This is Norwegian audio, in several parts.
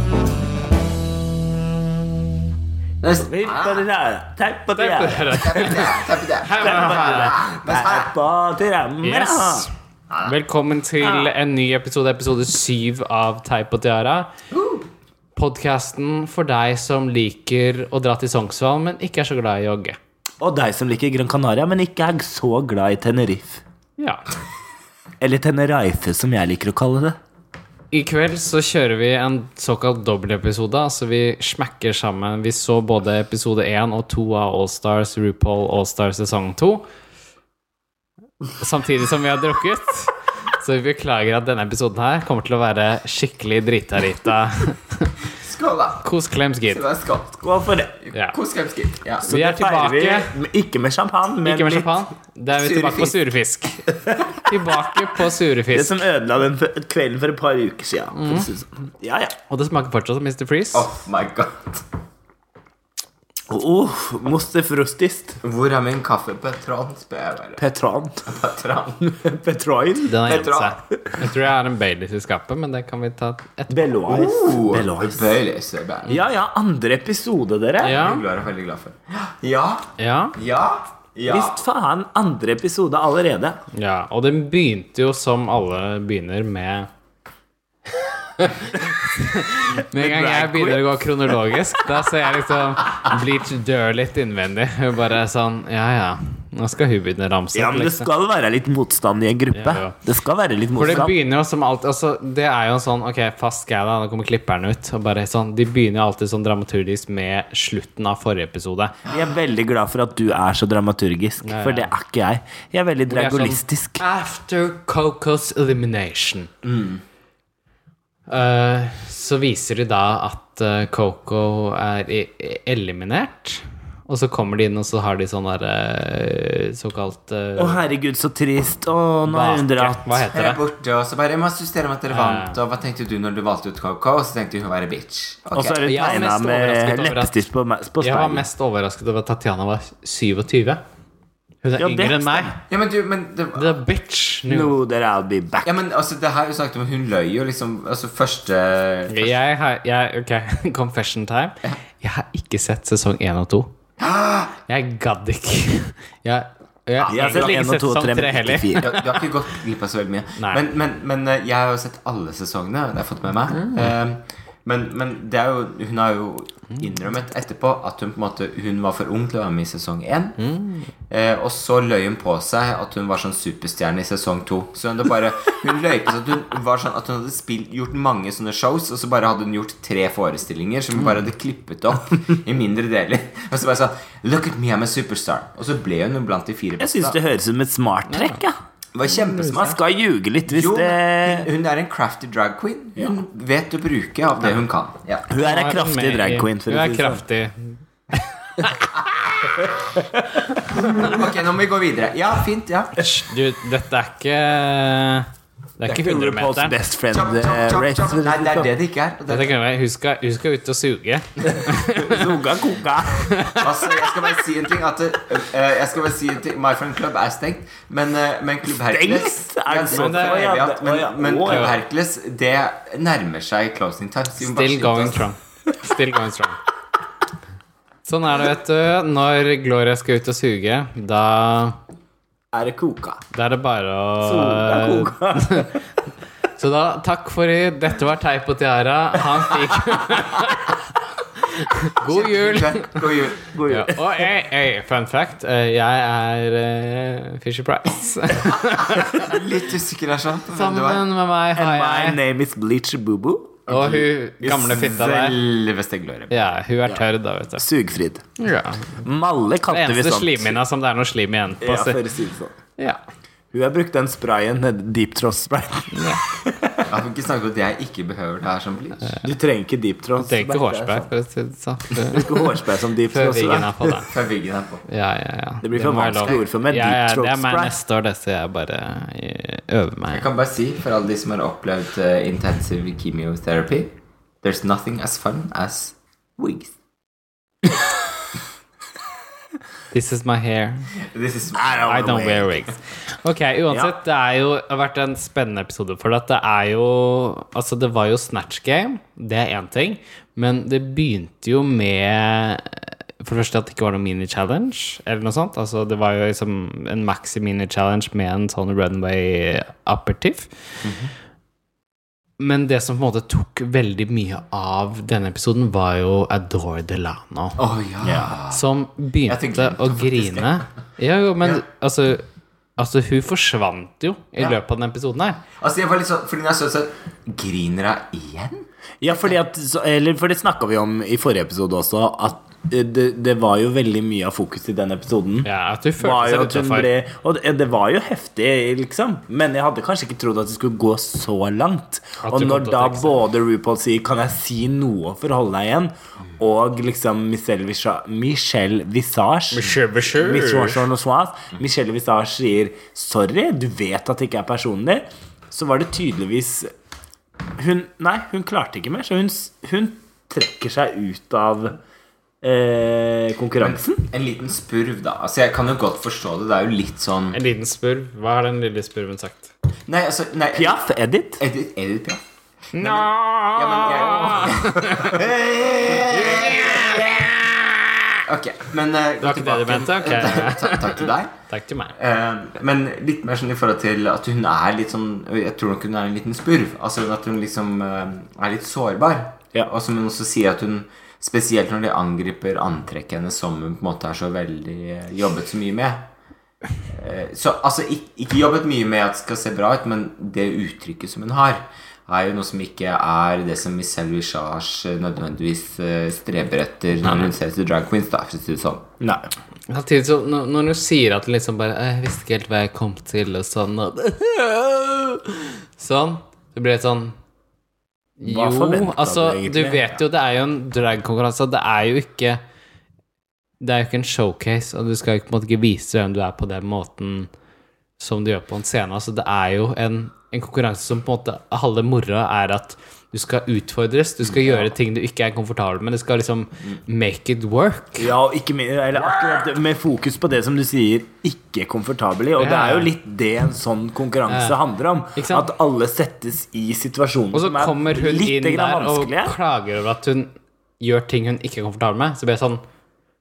ah. Yes. Velkommen til en ny episode, episode syv av Teip og tiara. Podkasten for deg som liker å dra til Sognsvann, men ikke er så glad i å jogge. Og deg som liker Gran Canaria, men ikke er så glad i Tenerife. Ja. Eller Tenerife, som jeg liker å kalle det. I kveld så kjører vi en såkalt dobbeltepisode. Altså vi smekker sammen. Vi så både episode én og to av Allstars, RuPaul Allstars sesong to. Samtidig som vi har drukket. Så vi beklager at denne episoden her kommer til å være skikkelig drita-rita. Skål, da. Kos klems, Det gidd. var skål. Gå for det. Ja. Kos deg, Skip. Ja. Vi er Det feirer vi, tilbake. men Ikke med champagne, men Ikke med litt- champagne. Da er vi tilbake på surefisk. Tilbake på det surefisk. som ødela den f- kvelden for et par uker siden. for Mm. å si det sånn. Ja, ja. Og det smaker fortsatt som Mr. Freeze. Oh my god. Oh, moster frostist. Hvor er min kaffe? Petron, spør jeg bare. Petran. Petron. Petroin. Den har gjemt Petra. seg. Jeg tror jeg har en Baileys i skapet, men det kan vi ta etterpå. Bellois. Oh, Bellois. Baileys er band. Ja, ja, andre episode, dere. Ja, Jeg er veldig glad for. Ja, ja, ja, ja. Visst faen, andre episode allerede. ja. Og den begynte jo som alle begynner med Med en gang jeg begynner å gå kronologisk, da ser jeg liksom Bleach dør litt innvendig. Hun Bare sånn Ja, ja. Nå skal hun begynne å ramse Ja, opp. men det liksom. skal være litt motstand i en gruppe. Ja, ja. Det skal være litt For det motstand. begynner jo som alt altså, Det er jo en sånn Ok, fast greie, da. Nå kommer klipperne ut. Og bare sånn De begynner jo alltid sånn dramaturgisk med slutten av forrige episode. Jeg er veldig glad for at du er så dramaturgisk, ja. for det er ikke jeg. Jeg er veldig Det er sånn, dragolistisk. After Coco's elimination. Mm. Eh, så viser de da at eh, Coco er i- i- eliminert. Og så kommer de inn, og så har de sånn der eh, såkalt eh, Å, herregud, så trist. Å, nå er hun bake. dratt. Hva Jeg heter er det? borte, og så bare Jeg må assistere med at dere vant. Og hva tenkte du når du valgte ut Coco? Og så tenkte hun å være bitch. Ok. Og så er hun Jeg er tegna mest overrasket med over at- leppestift på, meg- på Jeg var speilet. mest overrasket over at Tatjana var 27. Hun er Ja, det yngre enn meg. Ja, men du, men det The bitch nå. No, there I'll be back. Ja, men altså, det her vi snakket om, hun løy jo liksom Altså, første Jeg har jeg, Ok, confession time. Jeg har ikke sett sesong 1 og 2. Jeg gadd ikke. Jeg, jeg, Jeg har sett 1 egentlig og 2 og 3, sesong men sånn heller. ikke 4. Du, du har ikke gått glipp av så veldig mye. Nei. Men, men, men eh, jeg har jo sett alle sesongene. Det har jeg fått med meg. Mm. Eh, Men, men det er jo, hun har jo Mm. innrømmet etterpå at hun på en måte Hun var for ung til å være med i sesong én. Mm. Eh, og så løy hun på seg at hun var sånn superstjerne i sesong to. Så hun, det bare, hun løy på seg at hun var sånn at hun hadde spilt, gjort mange sånne shows, og så bare hadde hun gjort tre forestillinger som hun bare hadde klippet opp Mm. i mindre deler. Og så bare sånn Look at me, I'm a superstar. Og så ble hun blant de fire Jeg beste. syns da. det høres ut som et smart trekk. Ja. Det var kjempesmart. Man skal ljuge litt hvis Jo, det men hun, hun er en crafty drag queen. Hun vet å bruke av det hun kan. Ja. Hun er ei Hun med kraftig i- drag queen. For Hun å er si det sånn. kraftig. Ok, nå må vi gå videre. Ja, fint. ja Hysj, Du, dette er ikke Det er ikke RuPaul's 100-meteren. best friend Chop, chop, eh, chop, race. chop. for å si Nei, det er det det det ikke er. Og det, Dette kan være- Hun skal, hun skal ut og suge. sånn. Soga koka. altså, jeg skal bare si en ting. At, eh, jeg skal bare si en ting My Friend Club er stengt, men, eh, men Klubb Hercules Stengt? Er det Ja, så- det er Å, ja, evig, Men, å, ja. Å, men ja. Klubb Hercules det nærmer seg closing time. så vi må bare Still skynde going oss. strong. Still going strong. Sånn er det, vet du. Når Gloria skal ut og suge, da, Er det koka? da er det bare Soga å koka. Så da, takk for i Dette var Teip og Tiara. Han fikk God jul! God jul. God Ja. jul. Og hey, hey, fun fact, eh, jeg er eh, Fisher Price. Litt usikker her, sånn. på hvem du er. Sammen med meg har My jeg name is Bleach Bubu. Og hun gamle fitta der. Selveste Gloria. Ja, hun er tørr, da, vet du. Sugfrid. Ja. Malle Det kalte vi eneste sånt. slimhinna som det er noe slim igjen på. Ja, så- for å si det sånn. Ja. Hun har brukt den sprayen, den deep throat-sprayen. Jeg får ikke snakke om at jeg ikke behøver det her som bleach. Du trenger ikke deep throat. Det er ikke hårspray, for å si det sånn. Før- altså. Ikke hårspray som deep Før throat. veggen er spray. på deg. Fra veggen her på. Ja, ja, ja. Det blir for må jeg vanskelig lov- ord for meg. Ja, ja, Deep throat det er meg spray. neste år, det, så jeg bare eh, øver Jeg meg. kan bare si for alle de som har opplevd eh, intensive chemotherapy There's nothing as fun as wigs. This is my hair. This is I don't wear wigs. Ok, uansett, det er jo, det har vært en spennende episode. For at det er jo Altså, det var jo Snatch Game. Det er én ting. Men det begynte jo med For det første at det ikke var noen mini-challenge, eller noe sånt. Altså, det var jo liksom en maxi mini-challenge med en sånn runway-apertiv. Men det som på en måte tok veldig mye av denne episoden, var jo Adore Delano. Å Oh, ja. Som Jeg begynte tenkte å faktisk grine. Ja, jo, men Ja. altså Altså, hun forsvant jo i Ja. løpet av den episoden her. Altså, jeg var litt sånn Fordi når jeg så det, så Griner jeg igjen? Ja, fordi at, så- eller for det snakka vi om i forrige episode også, at eh, det, det var jo veldig mye av fokus i den episoden. Ja, at hun følte Var jo seg at hun utafor. ble, og det, det var jo heftig, liksom. Men jeg hadde kanskje ikke trodd at det skulle gå så langt. At Og det kom når til å da trekke seg. både RuPaul sier 'Kan jeg si noe for å holde deg igjen?' og liksom Michelle, Visa, Michelle Visage Miss Washorn og Swaz. Michelle Visage sier 'sorry, du vet at det ikke er personlig', så var det tydeligvis Hun Nei, hun klarte ikke mer, så hun, s- hun trekker seg ut av eh, konkurransen. En liten spurv, da. Altså, jeg kan jo godt forstå det. Det er jo litt sånn En liten spurv. Hva har den lille spurven sagt? Nei, altså nei, Piaf, Edith. Edith, Edith Piaf. Nå! Ja, men jeg Ok, men eh, var ikke det du mente? Ok. Ta- Takk til deg. Takk til meg. Eh, men litt mer sånn i forhold til at hun er litt sånn Jeg tror nok hun er en liten spurv. Altså At hun liksom eh, er litt sårbar. Ja. Og som hun også sier at hun Spesielt når de angriper antrekket hennes, som hun på en måte er så veldig eh, jobbet så mye med. Eh, Så altså, ikke, ikke jobbet mye med at det skal se bra ut, men det uttrykket som hun har, er jo noe som ikke er det som Michelle Visage eh, nødvendigvis eh, streber etter når hun ser etter drag queens. Da, for å si det sånn. Nei. Samtidig så, når når hun sier at hun liksom bare «Eh, 'Jeg visste ikke helt hva jeg kom til', og sånn og Sånn. Det blir litt sånn Jo, Hva forventet altså, du egentlig? du vet jo det er jo en dragkonkurranse. og Det er jo ikke Det er jo ikke en showcase, og du skal jo på en måte ikke vise hvem du er på den måten som du gjør på en scene. Altså, det er jo en, en konkurranse som på en måte halve moroa er at du skal utfordres, du skal gjøre ting du ikke er komfortabel med. Du skal liksom Mm. make it work. Ja, og ikke med, eller akkurat det- med fokus på det som du sier ikke komfortabel i. Og det er jo litt det en sånn konkurranse Ja. handler om. Ikke sant? At alle settes i situasjoner Og så som er kommer hun litt inn der grann og vanskelige. klager over at hun gjør ting hun ikke er komfortabel med. Så blir jeg sånn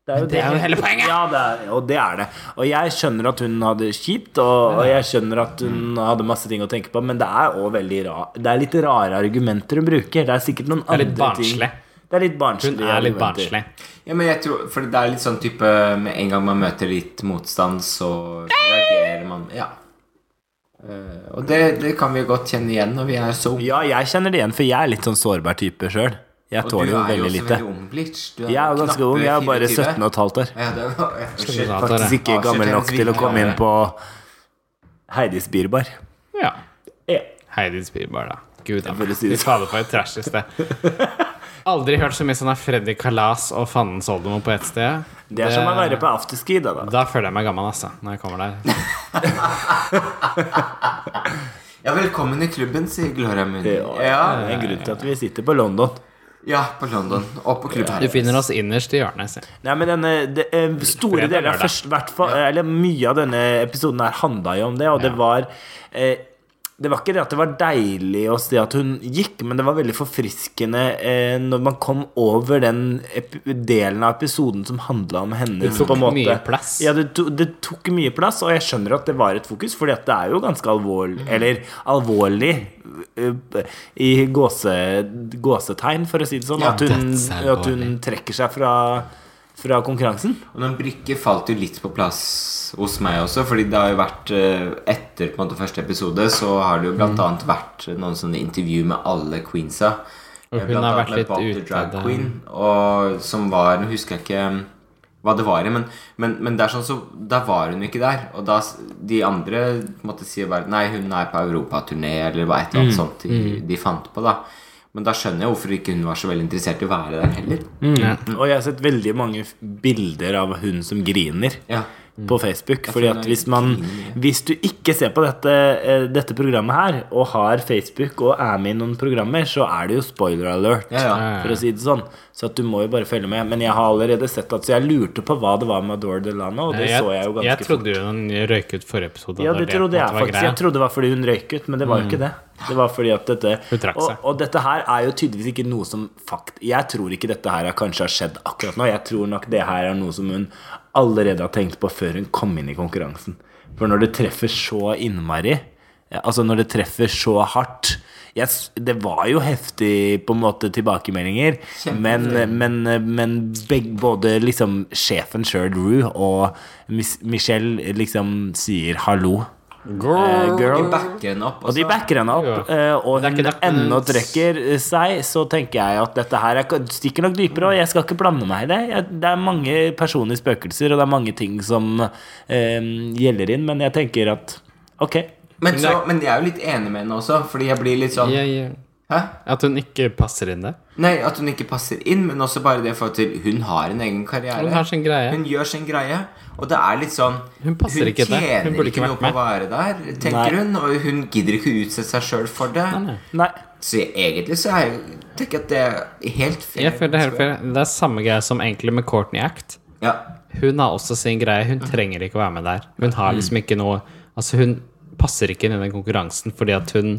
er jo det er jo hele poenget. Ja, det er, og det er det. Og jeg skjønner at hun hadde kjipt, og, og jeg skjønner at hun hadde masse ting å tenke på, men det er også veldig ra Det er litt rare argumenter hun bruker. Det er sikkert noen er andre litt ting. barnslig. Det er litt barnslig. Hun er litt argumenter. barnslig. Ja, men jeg tror, for det er litt sånn type Med en gang man møter litt motstand, så reagerer man. Ja. Eh, og det, det kan vi godt kjenne igjen når vi er så unge. Ja, jeg kjenner det igjen, for jeg er litt sånn sårbar type sjøl. Jeg Og tåler jo du er jo veldig også lite. veldig ung, Blitz. Du Jeg er jo ganske knappe ung, jeg er bare 24. 17 og et halvt år. Ja, det var, ja, unnskyld. Ja, det er Faktisk det. ikke gammel nok til å komme inn på Heidis Birbar. Ja. Ja. Heidi Spirbar, da. Gud da. får si Fy det. fader, for et trash i sted. Aldri hørt så mye sånn av Freddy Kalas og Fannens oldemor på ett sted. Det er som å være på afterski, da. da. Da føler jeg meg gammel, altså. Når jeg kommer der. Ja, velkommen i klubben, sier Gloria Mundi. Ja, Ja, Det er en grunn til at vi sitter på London. ja, på London. Og på klubben. Du finner oss innerst i hjørnet. sier jeg. Nei, men denne, det, eh, Store Fredag, deler av lørdag. først, hvert fall, eller mye av denne episoden her handla jo om det, og det var eh, det var ikke det at det var deilig å se at hun gikk, men det var veldig forfriskende eh, når man kom over den ep delen av episoden som handla om henne. Det tok mye plass. Ja, det, to det tok mye plass, og jeg skjønner at det var et fokus, Fordi at det er jo ganske alvorlig, Mhm. eller alvorlig eh, i gåse, gåsetegn, for å si det sånn. Ja, at hun, dødsalvorlig. at hun trekker seg fra, fra konkurransen. Og noen brikker falt jo litt på plass hos meg også, fordi det har jo vært eh, Etter på en måte første episode så har det jo Mm. blant annet vært noen sånne intervju med alle queensa. Og Eh, hun blant har annet vært med litt Bob the ute Drag der. Queen, og som var Nå husker jeg ikke um, hva det var i, men, men, men det er sånn så da var hun ikke der. Og da s- de andre på en måte sier bare Nei, hun er på europaturné, eller hva et eller Mm. annet sånt de, de fant på, da. Men da skjønner jeg hvorfor ikke hun var så veldig interessert i å være der heller. Mm. Mm. Og jeg har sett veldig mange f- bilder av hun som griner. Ja. På Facebook, fordi tror at det er hvis, man, griner mye. hvis du ikke ser på dette, eh, dette programmet her, og har Facebook og er med i noen programmer, så er det jo spoiler alert. Ja, ja. For å si det sånn. Så at du må jo bare følge med. Men jeg har allerede sett at Så jeg lurte på hva det var med Adore Delano, og det så jeg jo ganske jeg trodde hun røyk ut forrige episode. Ja, når det trodde på en jeg måte var faktisk. Jeg greia. trodde det var fordi hun røyk ut, men det var jo ikke det. Det var fordi at dette Mm. Hun trakk og, seg. og dette her er jo tydeligvis ikke noe som fakt Jeg tror ikke dette her har kanskje har skjedd akkurat nå. Jeg tror nok det her er noe som hun allerede har tenkt på før hun kom inn i konkurransen. For når det treffer så innmari, ja, altså når det treffer så hardt jeg, s- Det var jo heftig på en måte tilbakemeldinger, men, men, men beg, både liksom sjefen sjøl, Rue, og Miss, Michelle liksom sier hallo. eh, De girl. backer henne opp. Og de backer henne opp, Ja. eh, og Det er hun ikke nok, men- ennå trekker seg, så tenker jeg at dette her er, stikker nok dypere, og jeg skal ikke blande meg i det. Jeg, det er mange personlige spøkelser, og det er mange ting som eh, gjelder inn, men jeg tenker at ok. men, så, men jeg er jo litt enig med henne også, fordi jeg blir litt sånn Jeg, jeg, Hæ? at hun ikke passer inn der. Nei, at hun ikke passer inn, men også bare det i forhold til Hun har en egen karriere. Hun har sin greie. Hun gjør sin greie, og det er litt sånn Hun passer ikke der. Hun tjener burde ikke ikke noe på vært å være der, tenker Nei. hun, og hun gidder ikke å utsette seg sjøl for det. Nei, nei. Nei. Så jeg, egentlig så er jeg tenker at det er helt fair. Jeg føler det er helt fair. Det er samme greie som egentlig med Courtney Act. Ja. Hun har også sin greie. Hun trenger ikke å være med der. Hun har liksom ikke noe Altså, hun passer ikke inn i den konkurransen fordi at hun,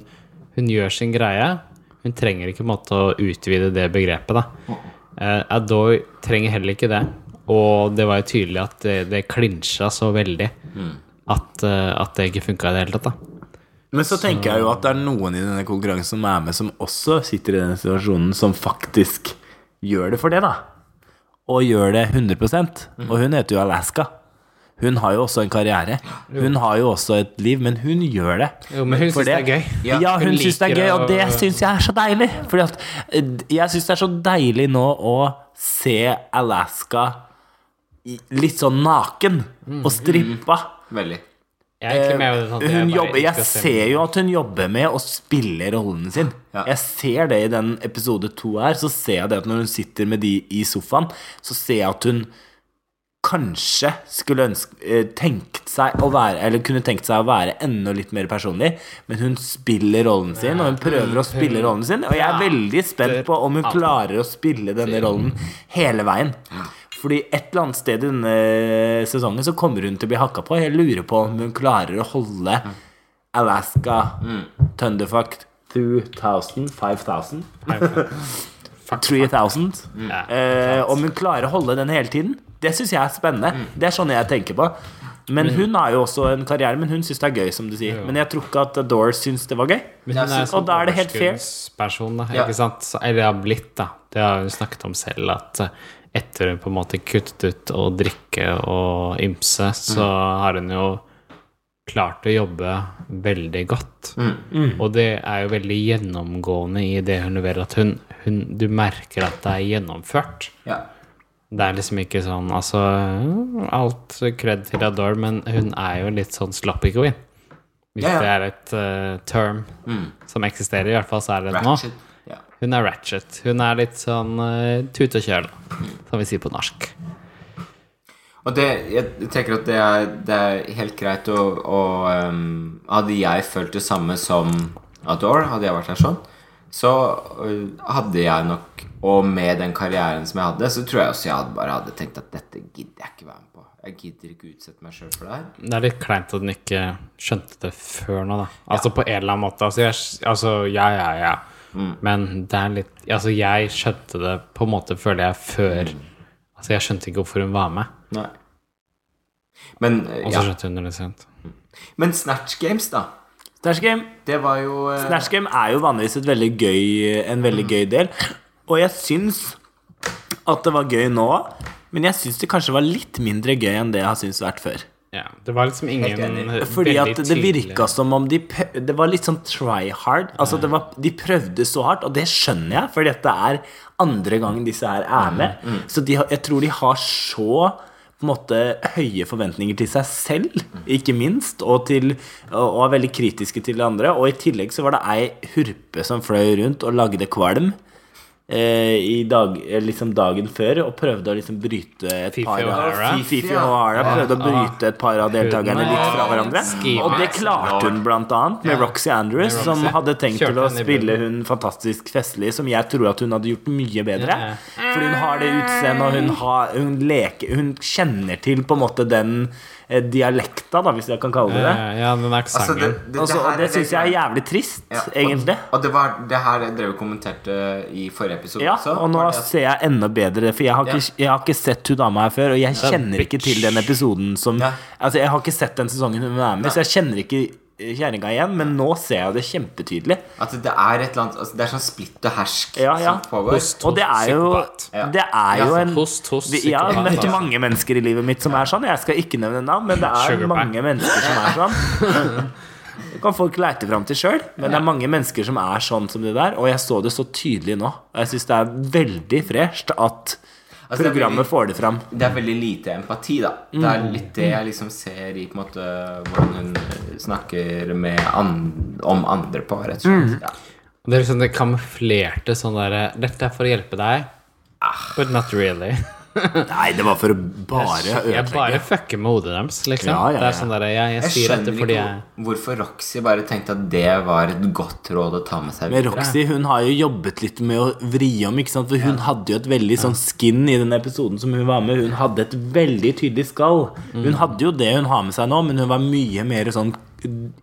hun gjør sin greie. Hun trenger ikke på en måte å utvide det begrepet, da. Eh, Adoy trenger heller ikke det. Og det var jo tydelig at det, det klinsja så veldig at, eh, at det ikke funka i det hele tatt, da. Men så tenker jeg jo at det er noen i denne konkurransen som er med, som også sitter i denne situasjonen, som faktisk gjør det for det, da. Og gjør det 100 Og hun heter jo Alaska. Hun har jo også en karriere. Hun har jo også et liv, men hun gjør det. Jo, men hun For syns det er gøy. Ja, Ja, hun hun, synes syns det er liker gøy, og å- det syns jeg er så deilig. Fordi at eh, jeg syns det er så deilig nå å se Alaska i- litt sånn naken Mm. og strippa. Veldig. Jeg er egentlig med på det, sånn at jeg Eh, Hun bare jobber, ikke jeg skal se- ser jo at hun jobber med å spille rollen sin. Ja. Jeg ser det i den episode to her. Så ser jeg det at når hun sitter med de i sofaen, så ser jeg at hun kanskje skulle ønske, eh, tenkt seg å være Eller kunne tenkt seg å være enda litt mer personlig, men hun spiller rollen sin, og hun prøver å spille rollen sin. Og jeg er veldig spent på om hun klarer å spille denne rollen hele veien. Fordi et eller annet sted i denne sesongen så kommer hun til å bli hakka på. Jeg lurer på om hun klarer å holde Alaska Thunderfuck 2000 5000 3000 Ja. Eh, om hun klarer å holde den hele tiden, det syns jeg er spennende. Det er sånn jeg tenker på. Men hun har jo også en karriere, men hun syns det er gøy, som du sier. Men jeg tror ikke at Doors syns det var gøy. Men Jeg hun er synes- sånn og da er det helt fair. overskuddsperson, da, Ja. ikke sant? Så- Eller har blitt, da. Det har hun snakket om selv, at eh, etter hun på en måte kuttet ut å drikke og ymse, så har hun jo klart å jobbe veldig godt. Mm. Og det er jo veldig gjennomgående i det hun leverer, at hun, hun Du merker at det er gjennomført. Ja. Det er liksom ikke sånn Altså, alt kred til Adore, men hun er jo litt sånn sloppy queen. Hvis Ja, ja. det er et eh, term som eksisterer, i hvert fall så er det det nå. Ratchet. Ja. Hun er ratchet. Hun er litt sånn eh, tut og kjøl, Mm. som vi sier på norsk. Og det, jeg tenker at det er, det er helt greit å, å ehm, Hadde jeg følt det samme som Adore, hadde jeg vært der sånn, så øh, hadde jeg nok Og med den karrieren som jeg hadde, så tror jeg også jeg hadde bare hadde tenkt at dette gidder jeg ikke være med på. Jeg gidder ikke utsette meg sjøl for det her. Det er litt kleint at hun ikke skjønte det før nå, da. Altså på en eller annen måte. Altså, jeg, altså ja, ja, ja. Mm. Men det er litt Altså, jeg skjønte det på en måte, føler jeg, før Mm. Altså, jeg skjønte ikke hvorfor hun var med, Nei. Men, øh, og så ja. skjønte hun det litt sent. Men Snatch Games, da. Snatch Game. Det var jo øh, Snatch Game er jo vanligvis et veldig gøy, en veldig gøy del. Og jeg syns at det var gøy nå, men jeg syns det kanskje var litt mindre gøy enn det jeg har syntes vært før. Ja, det var liksom ingen Helt enig. Fordi veldig at det tydelig- virka som om de prø- Det var litt sånn try hard. Altså Mm. det var, de prøvde så hardt, og det skjønner jeg, for dette er andre gangen disse her Mm, er med. Så de, har- jeg tror de har så på en måte høye forventninger til seg selv, Mm. ikke minst, og, til, og og er veldig kritiske til andre. Og i tillegg så var det ei hurpe som fløy rundt og lagde kvalm. eh, i dag, eh, liksom dagen før og prøvde å liksom bryte et Fifi par av O'Hara. Fifi O'Hara prøvde å bryte et par av deltakerne Hun litt er fra hverandre. skimmel. Og det klarte hun blant annet med Roxy Andrews, Med som Roxy. hadde tenkt Kjørte til å henne i spille hun bunnen. fantastisk festlig, som jeg tror at hun hadde gjort mye bedre. Ja. Fordi hun har det utseendet, og hun, har, hun leker Hun kjenner til på en måte den eh, dialekta, da, hvis jeg kan kalle det det. Eh, Ja, den Altså, aksenten. Også, her og det er syns jeg er jævlig trist, Ja, egentlig. Og, og det var det her jeg drev og kommenterte i forrige episode Ja, også. og nå var det at- ser jeg enda bedre, for jeg har ikke, jeg har ikke sett hun dama her før. Og jeg kjenner ikke til den episoden som Ja. Altså, jeg har ikke sett den sesongen hun er med, Nei. så jeg kjenner ikke eh, kjerringa igjen. Men nå ser jeg det kjempetydelig. At det er et eller annet altså Det er sånn splitt og hersk Ja, ja. som pågår. Hos- Og det er jo Ja. Det er jo Ja, en Host, host, Vi- Jeg har psykopat, møtt altså. mange mennesker i livet mitt som er sånn. Jeg skal ikke nevne navn, men det er Sugar mange pack. mennesker som er sånn. Det kan folk leite fram til sjøl, men det er mange mennesker som er sånn som det der. Og jeg så det så tydelig nå. Og jeg syns det er veldig fresht at Altså, det er programmet veldig- får det fram. Det er veldig lite empati, da. Det er Mm. litt det jeg liksom ser i på en måte hvordan hun eh, snakker med an om andre på, rett og slett. Ja. Det er liksom det kamuflerte sånn derre 'Dette er for å hjelpe deg', but not really. Nei, det var for å Ah. bare Jeg ødelegge. bare fucker med hodet deres, liksom. Ja, ja, ja. Det er sånn derre jeg, jeg Jeg sier dette skjønner ikke fordi jeg hvorfor Roxy bare tenkte at det var et godt råd å ta med seg Men videre. Roxy hun har jo jobbet litt med å vri om, ikke sant? for hun hadde jo et veldig sånn skin i den episoden som hun var med. Hun hadde et veldig tydelig skall. Mm. Hun hadde jo det hun har med seg nå, men hun var mye mer sånn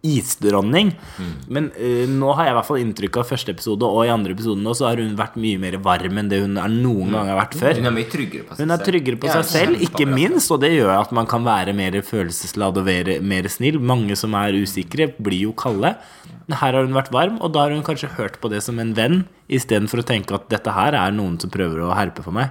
isdronning. Mm. Men eh, nå har jeg i hvert fall inntrykk av første episode og i andre episode nå, så har hun vært mye mer varm enn det hun er Mm. noen gang har vært før. Hun er mye tryggere på seg Hun er tryggere på Ja, seg selv, kjempe- ikke minst, og det gjør at man kan være mer følelsesladd og være mer snill. Mange som er usikre, blir jo kalde. Men Her har hun vært varm, og da har hun kanskje hørt på det som en venn, istedenfor å tenke at dette her er noen som prøver å herpe på meg.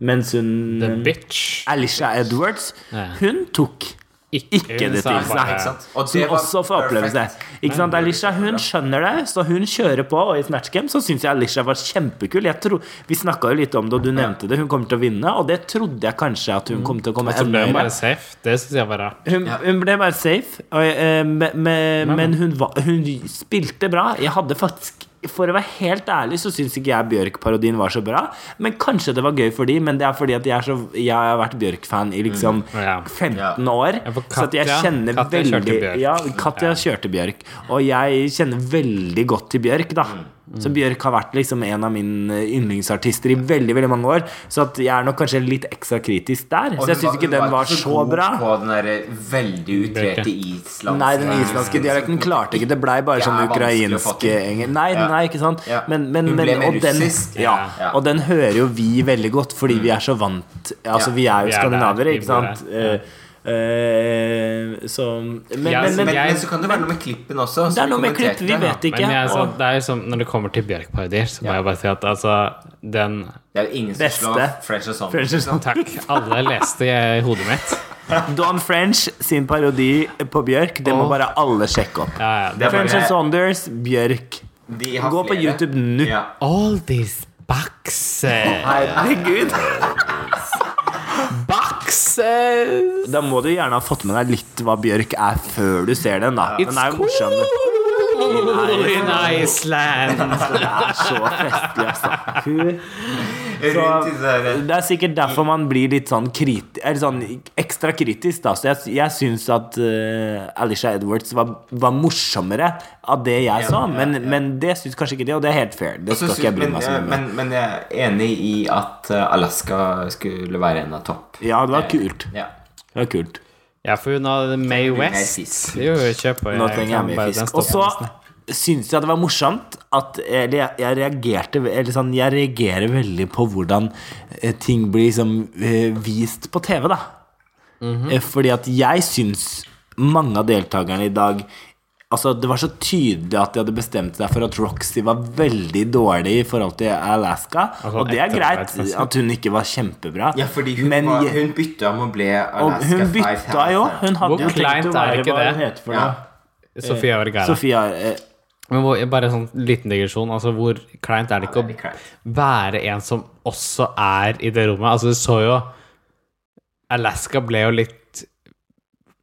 Mens The hun bitch. Alicia Edwards, Ja. hun tok ikke hun det sa til bare- seg. Ikke sant? Og det Som var også får oppleve det. perfekt. Ikke sant, Alicia hun skjønner det, så hun kjører på. Og i Snatch Game så syns jeg Alicia var kjempekul. Jeg tror, vi snakka jo litt om det, og du nevnte det. Hun kommer til å vinne, og det trodde jeg kanskje at Mm. hun kom til å komme Så ble enda hun bare høyere. safe. Det syns jeg var rart. Hun, hun ble bare safe, og, eh, me- me- men hun, var, hun spilte bra. Jeg hadde faktisk For å være helt ærlig så syns ikke jeg Bjørk-parodien var så bra. Men kanskje det var gøy for de, men det er fordi at jeg, er så, jeg har vært Bjørk-fan i liksom Ja. 15 år. Ja, for så at jeg Katja- kjenner Katja kjørte veldig Bjørk. Ja, Katja kjørte Bjørk. Og jeg kjenner veldig godt til Bjørk, da. Så Bjørk har vært liksom en av mine yndlingsartister i veldig veldig mange år. Så at jeg er nok kanskje litt ekstra kritisk der. Og Så jeg hun syns ikke hun den var så god bra. På den der veldig utrerte islandske Nei, den islandske dialekten klarte ikke. Det blei bare Det sånn er vanskelig å få ukrainsk til. engel. Nei, Ja. nei, ikke sant? Ja. Men, men, Hun men, ble mer og den, russisk. ja. Ja. Og den hører jo vi veldig godt, fordi vi er så vant Altså, vi Ja. er jo Vi er der. skandinaver, Vi ikke bor sant? Eh, eh, så men, Jeg- men, Men, men jeg- men så kan det være noe med klippen også. det er noe med klipp, vi vet Men ikke. jeg, er og- sånn- det er jo sånn, når det kommer til Bjørk-parodier, så må jeg bare si at altså Den Det er jo ingen som Beste. slår French og sånn. French is not- Takk. Alle leste jeg i hodet mitt. Don French sin parodi på Bjørk, det må Åh. bare alle sjekke opp. Ja, ja. Det er bare- French and Saunders, Bjørk. De har Gå på flere. YouTube nå. Ja. All these boxes Herregud. Boxes Da må du gjerne ha fått med deg litt hva Bjørk er, før du ser den, da. Den er jo morsom. den. cool in Iceland. Altså, Det er så festlig, altså. Hun- Rundt i det der- Det er sikkert derfor man blir litt sånn, kriti eller sånn ekstra kritisk. Da. Så jeg, jeg syns at eh, Alicia Edwards var, var morsommere av det jeg så, men, men det syns kanskje ikke det, og det er helt fair. Det Så skal ikke jeg syns- bry men, eh, meg så mye om. men, men jeg er enig i at eh, Alaska skulle være en av topp. Ja, det var kult. Ja. Det var kult. Ja, for hun hadde May blir mer West. fisk. Det er jo kjøper Nå trenger jeg mer fisk. Og så syns jeg det var morsomt at Eller jeg, jeg reagerte ve- Eller sånn, jeg reagerer veldig på hvordan eh, ting blir liksom eh, vist på TV, da. Mhm. Eh, Fordi at jeg syns mange av deltakerne i dag Altså, Det var så tydelig at de hadde bestemt seg for at Roxy var veldig dårlig i forhold til Alaska. Altså, og det er greit etterarbeidsmessig. at hun ikke var kjempebra. fordi hun, Men var, jeg- hun bytta om og ble og Alaska hun Five bytta jo. Thousand. Hun hadde Hvor jo tenkt å kleint er være ikke hva det? hun heter for Ja. noe. Sofia Vergara. Sofia eh, Men hvor, bare en sånn liten digresjon. Altså, hvor kleint er det Ja, det er ikke kleint. å være en som også er i det rommet? Altså, du så jo Alaska ble jo litt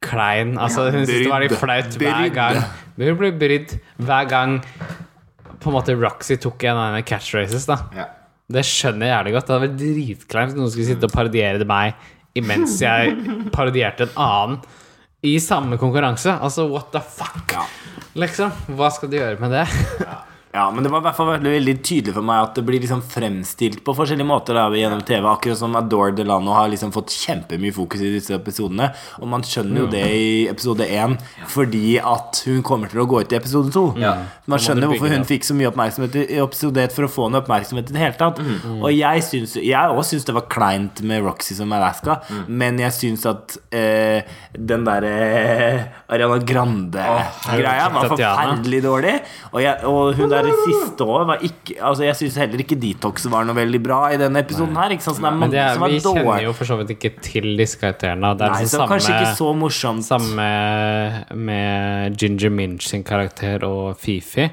klein. Altså, hun syntes det var litt brydd. flaut hver Brydd. gang. Men hun ble brydd hver gang på en måte Roxy tok en av hennes catchraces, da. Ja. Det skjønner jeg jævlig godt. Det hadde vært dritkleint om noen skulle sitte og parodiere det meg imens jeg parodierte en annen i samme konkurranse. Altså, what the fuck? Ja. Liksom. Hva skal de gjøre med det? Ja, men det var i hvert fall veldig, veldig tydelig for meg at det blir liksom fremstilt på forskjellige måter da, gjennom TV. Akkurat som Adore Delano har liksom fått kjempemye fokus i disse episodene. Og man skjønner jo Mm. det i episode én fordi at hun kommer til å gå ut i episode to. Man skjønner bygge hvorfor det hun opp. fikk så mye oppmerksomhet i i episode ett for å få noe oppmerksomhet i det hele tatt. Mm. Og jeg syns Jeg òg syns det var kleint med Roxy som Alaska, Mm. men jeg syns at eh, den derre eh, Ariana Grande-greia herregud, var Tatiana. forferdelig veldig dårlig. Og, jeg, og hun der i siste år var ikke Altså Jeg syns heller ikke Detox var noe veldig bra i denne episoden her. Ikke sant? Så det er Men mange det, er- som vi er kjenner dårlige. jo for så vidt ikke til disse karakterene. og Det er Nei, liksom så kanskje samme, ikke så morsomt. samme med Ginger Minch sin karakter og Fifi.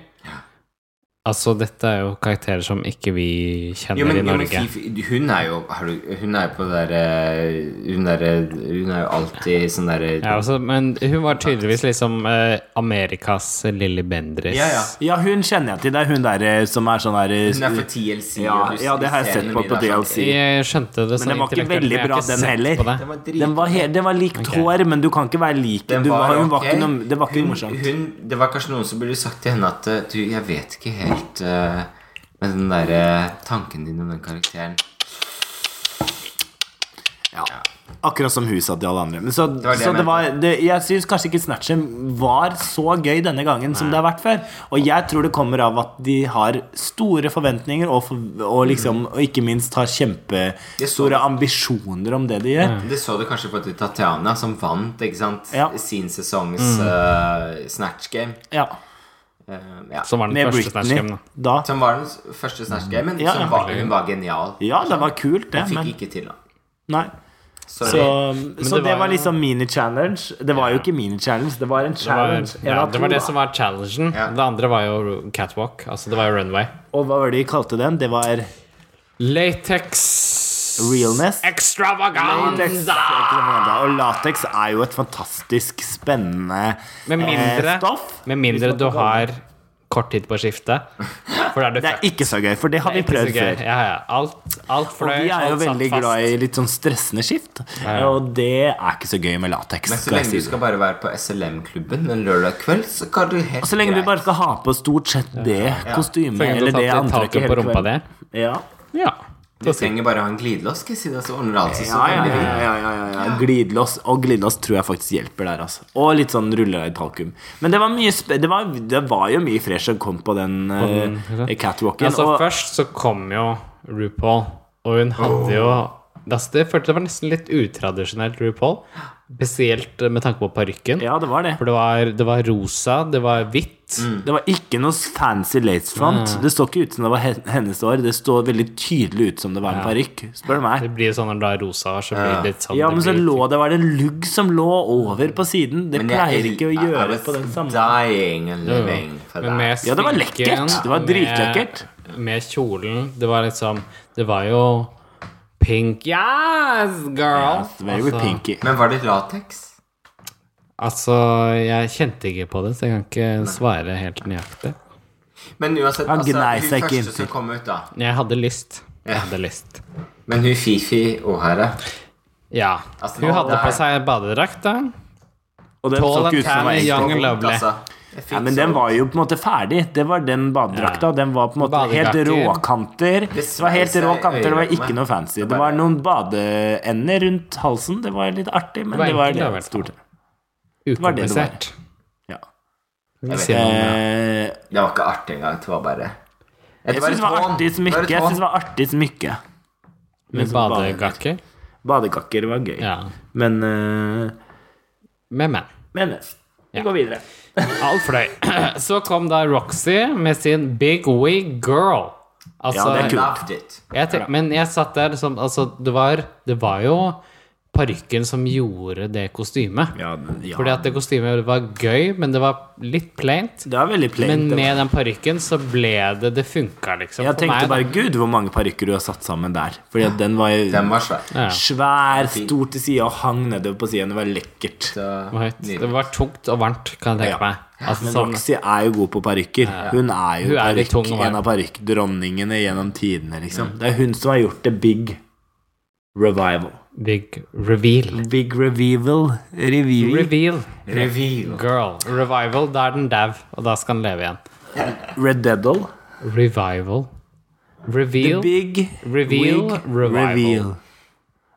Altså, dette er jo karakterer som ikke vi kjenner Jo, men, i jo, men Norge. Fifi, hun er jo har du- Hun er jo på det derre Hun er, hun er jo alltid sånn derre ja, altså, men hun var tydeligvis liksom eh, Amerikas Lilly Bendriss. ja, ja. Ja, hun kjenner jeg til. Det er hun der eh, som er sånn der eh, Hun er for TLC. ja, og du- ja, det har jeg ser sett henne på bli på der sånn, DLC. Jeg skjønte det sånn den var ikke intellektuelt, veldig men jeg har bra, ikke den sett heller. på det. Den var drit- Den var, he den var likt hår, men du kan ikke være lik Den du var, Hun var ok. ikke noe, det var ikke Hun- noe morsomt. hun- det var kanskje noen som burde sagt til henne at eh, Du, jeg vet ikke helt eh, med den derre tanken din om den karakteren. Ja. Akkurat som huset til alle andre. Men så, var det så jeg det var, det, jeg syns kanskje ikke Snatchem var så gøy denne gangen som det har vært før. Og jeg tror det kommer av at de har store forventninger, og, for, og, liksom, og ikke minst har Det så- kjempestore ambisjoner om det de Mm. gjør. Det så du kanskje på til Tatiana, som vant ikke sant? Ja. Mm. sin sesongs eh, Snatch Game. Ja, Eh, ja. Som var den Med første Britney snatchgamen. da. Som var den s- første Snatch Game, men Ja, som ja. var, hun var genial. Ja, det var kult, det, Fikk men ikke til noe. Nei. Sorry. Så, så det det var var jo- liksom mini-challenge. Det var jo ikke mini-challenge, det var en Det var, challenge. En ja, av det var to, det da. som var challengen. Ja. Det andre var jo catwalk. Altså, det var jo runway. Og hva var det de kalte den? Det var Latex Realness? Latex, Extravaganza! Og latex er jo et fantastisk spennende Med mindre, eh, stoff. med mindre du har kort tid på skiftet. For da er du Det er ikke så gøy, for det har vi prøvd før. Ja, ja. Alt, alt Og fløy. vi er jo alt satt veldig fast. glad i litt sånn stressende skift, og det er ikke så gøy med latex. Men så skal jeg lenge du si skal det. bare være på SLM-klubben en lørdag kveld, så kan du helt Og så lenge du bare skal ha på stort sett det kostymet Så lenge du eller har det tatt litt antrekket taket på hele rumpa kvelden. di. Ja. Ja. Du trenger bare ha en glidelås, skal jeg si deg, så ordner alt seg. så Ja, ja, veldig ja, fint. ja, ja, ja, ja. Glidelås og glidelås tror jeg faktisk hjelper der. Altså. Og litt sånn ruller i talkum. Men det var, mye spe det, var, det var jo mye fresh som kom på den eh, catwalken. Altså, og, først så kom jo RuPaul, og hun hadde jo Altså, det følte det var nesten litt utradisjonelt RuPaul, spesielt eh, med tanke på parykken. ja, Mm. det var det. For det var, det var rosa, det var hvitt. Det var ikke noe fancy lace front. Det står ikke ut som det var hen- hennes år. Det står veldig tydelig ut som det var en parykk. Spør du meg. Det blir sånn når det er rosa, så blir det litt sånn Ja, men så det blir, lå det var det en lugg som lå over på siden. Det Men jeg- pleier ikke å I- I gjøre was på den samme Dying and living for Men that. med Ja, det var sminken, lekkert. Det var med- dritlekkert. Med kjolen. Det var liksom Det var jo pink Yes, girl! Yes, Very altså, pinky. Men var det lateks? altså, jeg kjente ikke på det, så jeg kan ikke svare helt nøyaktig. Men uansett, Han altså, gnei hun seg ikke første inntil. som kom ut, da. Jeg hadde lyst. Jeg Ja. hadde lyst. Men hun Fifi O'Hara Ja. Altså, Hun nå- hadde på nei. seg badedrakt, da. Og den Tall så and ikke ut som tan, det var young egentlig. and lovely. Altså, Ja, men den var jo på en måte ferdig. Det var den badedrakta. Ja. Den var på en måte helt Badedrakker. råkanter. Det var helt sveis rå i kanter, det var øyerommet. ikke noe fancy. Det Det var bare- noen badeender rundt halsen. Det var litt artig, men Det det var var enkelt, da, i litt hvert fall. stort. var det det var. Ukomplisert. Ja. Vi vet sier noe om det. Eh, Det var ikke artig engang. Det var bare Jeg syns det var artig smykke. Jeg synes det var artig smykke. Med som badejakker. Badekakker var gøy. Ja. Men eh, Med menn. Men vi Ja. går videre. All fløy. Så kom da Roxy med sin Big Wig Girl. Altså, Ja, det er kult. Loved it. jeg te- men jeg satt der liksom Altså, det var, det var jo parykken som gjorde det kostymet. Ja, Fordi at det kostymet var gøy, men det var litt plaint. det er veldig Men plain. med den parykken så ble det Det funka, liksom. Jeg for tenkte meg, da. bare Gud, hvor mange parykker du har satt sammen der. Fordi at den var Den var svær. Ja, ja. svær, stor til sida og hang nedover på sida. Det var lekkert. Så- Det var høyt. Nydelig. Det var tungt og varmt, kan jeg tenke Ja. meg. Altså, Men sånn, Roxy er jo god på parykker. Hun er jo Hun er litt parykk- tung å være. en av parykkdronningene gjennom tidene, liksom. Det er hun som har gjort det big revival. big reveal. Big revival. Revival. Reveal, Reveal. girl. Revival, da er den dau, og da skal den leve igjen. Red Deadle. Revival. Reveal. Big Reveal, wig, revival.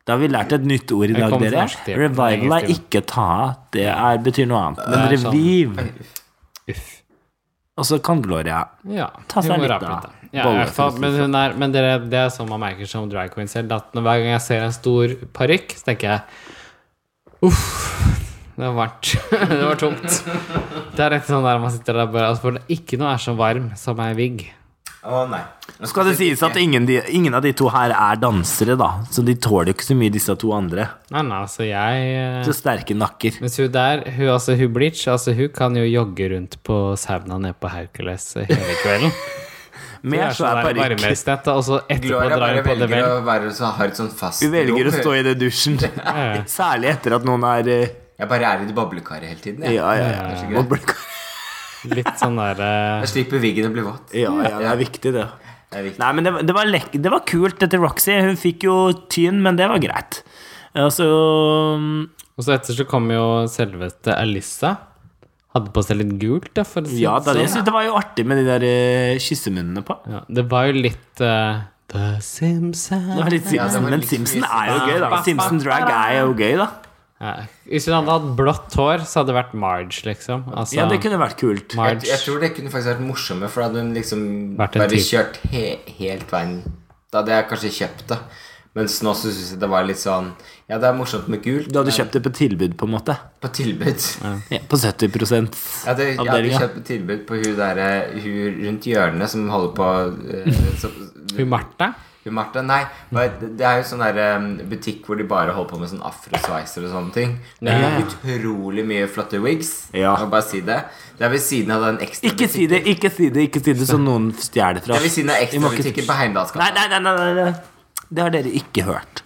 Da har vi lært et nytt ord i dag, kommer til dere. norsk, det er Revival er engelsk, ikke ta av. Det er, betyr noe annet. Men Det er sånn- reviv. Uff. Og så kan Gloria Ja. Ta seg hun må litt, rape da. da. Ja, i Bolle, hvert fall. for å si Men, hun er, men dere, det er sånn man merker som drag queen selv, at når hver gang jeg ser en stor parykk, så tenker jeg uff, det var varmt. det var tomt. Det er litt sånn der man sitter der bare altså, For det er ikke noe er så varm som ei vigg. Å, nei. Nå skal det sies at ingen, de, ingen av de to her er dansere, da. Så de tåler jo ikke så mye, disse to andre. Nei, nei, altså jeg eh, Så sterke nakker. Mens hun der, hun, altså, hun Bleach, altså, hun kan jo jogge rundt på sauna nede på Hercules hele kvelden. Det Mer er så sånn er der parykk. varmesnett, da, og så etterpå Gloria drar bare hun på det velger vel. å være så, har et sånn fast Du velger å rom. stå i det dusjen. ja. Særlig etter at noen er eh, Jeg bare er i det boblekaret hele tiden. Jeg, Ja, ja, Det er så ja. greit. Litt sånn der eh, jeg slipper viggen å bli våt. Ja, ja, det er viktig, det. Det er viktig. Nei, men det, var- det, var lekk- det var kult, dette Roxy. Hun fikk jo tyn, men det var greit. Altså Og så etter så kom jo selveste Alissa. Hadde på seg litt gult, da, for å si Ja, det da, jeg sånn. synes det var jo artig med de der eh, kyssemunnene på. Ja, det var jo litt eh, The Sims eh. Det var litt det var Simpson, men litt Simpson Simpson. er jo gøy, da. Simpson drag er jo gøy, da. ja. Hvis hun hadde hatt blått hår, så hadde det vært Marge, liksom. Altså, Ja, det kunne vært kult. Jeg, Marge. jeg tror det kunne faktisk vært morsomme, for da hadde hun liksom Vært en bare type. kjørt he, helt veien. Da hadde jeg kanskje kjøpt det. Mens nå så syns jeg det var litt sånn Ja, det er morsomt med gult Du hadde kjøpt det på tilbud, på en måte. på tilbud. Ja, på 70 Jeg hadde, jeg hadde Avdelinga. kjøpt på tilbud på hun derre hun rundt hjørnet som holder på eh, så, Hun Martha. Hun Martha, nei. men Det det er jo sånn der eh, butikk hvor de bare holder på med sånn afrosveiser og sånne ting. Det er utrolig mye flotte wigs. Ja. Jeg må bare si det. Det er ved siden av den ekstra Ikke si butikken- det, ikke si det, ikke si det, så noen stjeler fra Det er ved oss. siden av Vi må ikke- ekstrabutikken på Heimdalsgata. Nei, nei, nei, nei, nei, nei. Det har dere ikke hørt.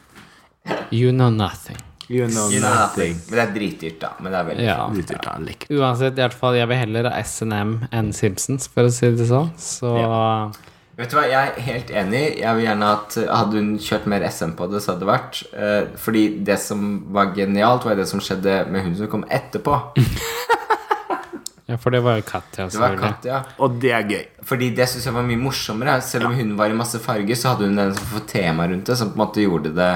You know nothing. You know You know nothing. Men det er dritdyrt, da. Men det er veldig Ja. Litt dyrt, da, like. Uansett, i hvert fall, jeg vil heller ha SNM enn Simpsons, for å si det sånn. Så Vet du hva, jeg er helt enig. Jeg vil gjerne at Hadde hun kjørt mer SM på det, så hadde det vært. Eh, fordi det som var genialt, var det som skjedde med hun som kom etterpå. Ja, for det var jo Katja, Det var selvfølgelig. Katja. Og det er gøy. Fordi det synes jeg var mye morsommere. Selv om hun var i masse farger, så hadde hun den som får tema rundt det, som på en måte gjorde det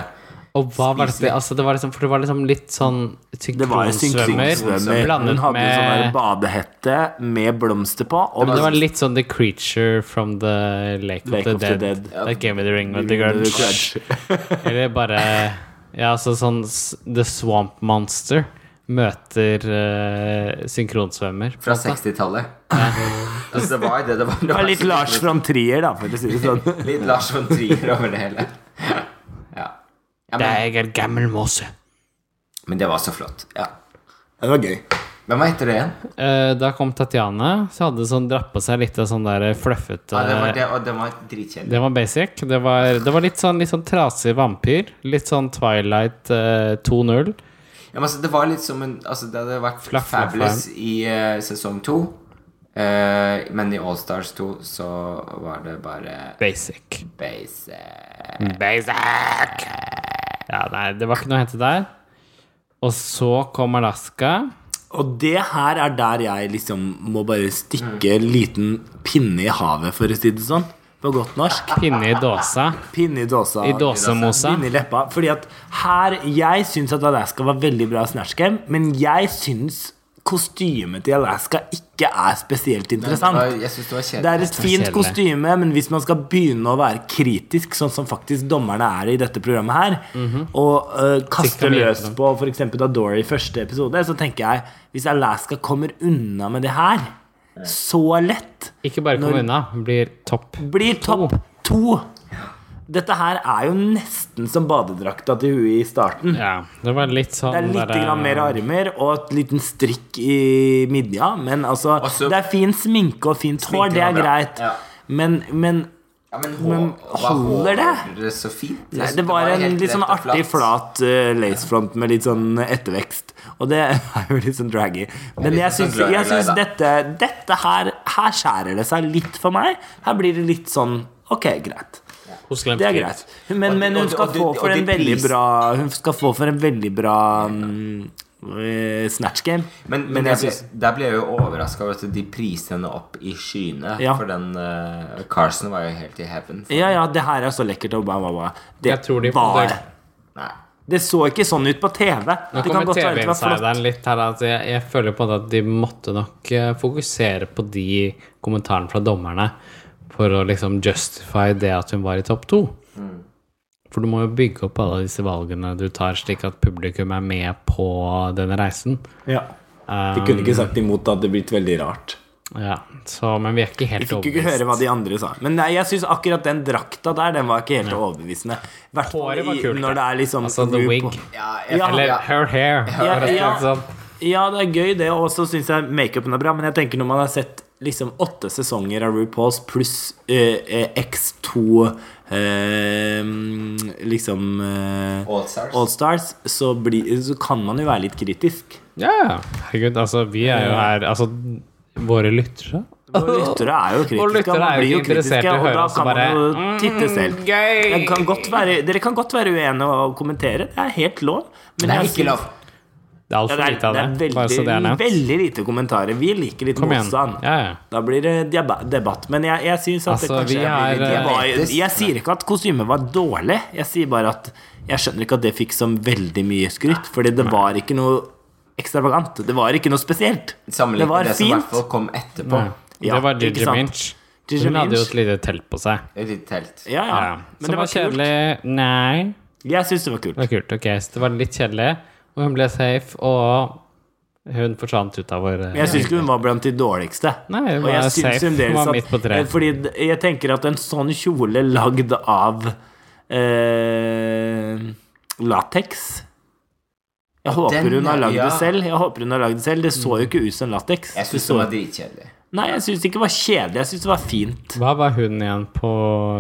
Og hva var det Altså, det var liksom For det var liksom litt sånn Det var jo synkronsvømmer. synkronsvømmer Hun blandet hadde jo sånn der med badehette med blomster på. Og Men det var litt sånn The Creature from the Lake, Lake of, the, Dead. That gave me the ring with the grudge. Eller bare Ja, altså sånn s- The Swamp Monster møter eh, synkronsvømmer. fra 60-tallet. altså, det var jo det det var. Det var litt Lars fra von Trier, da, for å si det sånn. Litt Lars von Trier over det hele. Ja. ja men, Det er en gammel måse. men det var så flott. Ja. Det var gøy. Hvem var etter det igjen? Eh, da kom Tatjana, så hadde sånn dratt på seg litt av sånn der fluffete Ja, det var det, og det var dritkjedelig. Det var basic. Det var, det var litt sånn, litt sånn trasig vampyr. Litt sånn Twilight eh, 2.0. Ja, men altså, det var litt som en altså, Det hadde vært Flaff, flaff, fabulous i eh, sesong to. eh, men i Allstars 2 så var det bare Basic. base. Basic! Ja, nei, det var ikke noe å hente der. Og så kom Alaska. Og det her er der jeg liksom må bare stikke en liten pinne i havet, for å si det sånn. På godt norsk. Pinne i dåsa. Pinne i dåsa. I dåsemosa. Pinne i leppa. Fordi at her Jeg syns at Alaska var veldig bra Snatch Game, men jeg syns kostymet til Alaska ikke er spesielt interessant. Jeg syns det var Det er kjedelig. et fint Spesielle. kostyme, men hvis man skal begynne å være kritisk, sånn som faktisk dommerne er i dette programmet her, og øh, kaste Mhm. Sikkert mye løs på dem. på f.eks. Dadori i første episode, så tenker jeg hvis Alaska kommer unna med det her så lett, Ikke bare kom unna, blir topp. blir topp to. Dette her er jo nesten som badedrakta til hun i starten. Ja, det var litt sånn Det er litt derre- grann mer armer og et liten strikk i midja. Men altså, Også- det er fin sminke og fint hår, det var er bra. greit. Ja. Men, men Ja, men, Men holder det? det så fint? Jeg Nei, synes det var en helt litt sånn rett og artig, flat eh, lacefront med litt sånn ettervekst. Og det er jo litt sånn draggy. Men Litt jeg sånn syns, jeg draggy, syns da. dette, dette her Her skjærer det seg litt for meg. Her blir det litt sånn Ok, greit. Hos Glenn Det er Fritz. greit. Men, Og- men hun og- skal og du- få og for en du veldig pris- bra Hun skal få for en veldig bra mm, eh, snatch game. Men, men, Men jeg jeg ble, syns der ble jeg jo overraska over at de priste henne opp i skyene. Ja. For den eh, Carson var jo helt i heaven. Ja, ja, det her er så lekkert. Og bla, bla, bla. Det Jeg tror de var det- Nei. Det så ikke sånn ut på TV. Nå Det kan kommer godt være det var flott. TV-insideren litt her. At jeg, jeg føler på en måte at de måtte nok eh, fokusere på de kommentarene fra dommerne for å liksom justify det at hun var i topp to. Mm. For du må jo bygge opp alle disse valgene du tar, slik at publikum er med på den reisen. Ja. De kunne ikke Um, sagt imot, da. Det hadde blitt veldig rart. Ja, så, Men vi er ikke Vi helt fikk jo ikke høre overbevist. hva de andre sa. Men nei, jeg syns akkurat den drakta der, den var ikke helt overbevisende. Hvert fall Håret var i- kult, Når det er liksom Altså the RuPaul- wig. Ja, jeg, Ja, Eller ja. her hair. Ja, rett og slett ja. sånn. Ja, det er gøy, det. Og så syns jeg makeupen er bra. Men jeg tenker når man har sett liksom åtte sesonger av RuPaul's pluss eh, eh, X2 eh, liksom eh, All Stars. Allstars, så, blir- så kan man jo være litt kritisk. Ja, ja. herregud, altså vi er jo her Altså, våre lyttere Og lyttere er jo kritiske. Og lyttere man er jo blir ikke interessert i å og høre da oss kan bare, man mm, jo Mm, titte selv. Gøy! Jeg kan godt være, dere kan godt være uenige og kommentere. Det er helt lov. Men Det er jeg ikke syns- lov. Det er Ja, altfor det, lite er, av det det. er bare så veldig, det er nevnt. veldig lite kommentarer. Vi liker litt Kom igjen. motstand. Ja, ja. Da blir det deba- debatt. Men jeg, jeg syns at Altså, det vi kanskje er, blir litt eh, jeg, diabetes. jeg sier ikke at kostymet var dårlig. Jeg sier bare at jeg skjønner ikke at det fikk så veldig mye skryt. Fordi det var ikke noe ekstravagant. Det var ikke noe spesielt. Det Sammenlignet med var det som i hvert fint. fall kom etterpå. Ja, Mm. det var ikke Gigi sant. Minch. Gigi Hun hadde jo Minch. et lite telt på seg. Et lite telt. Ja, ja. Ja. Men Som det var, var kult. kjedelig. Nei, Jeg syns det var kult. det var kult. Ok, så det var litt kjedelig. Og hun ble safe, og hun forsvant ut av vår eh, Men Jeg syns ikke hun var blant de dårligste. Nei, hun Og jeg var syns safe. fremdeles Hun var at- midt på treet. eh, Fordi d- jeg tenker at en sånn kjole lagd av eh, lateks Jeg håper den hun har er- lagd ja. det selv. Jeg håper hun har lagd det selv Det så jo ikke ut som lateks. Jeg syns Det det så- var dritkjedelig. Nei, jeg syns ikke det var kjedelig. Jeg syns det var fint. Hva var hun igjen på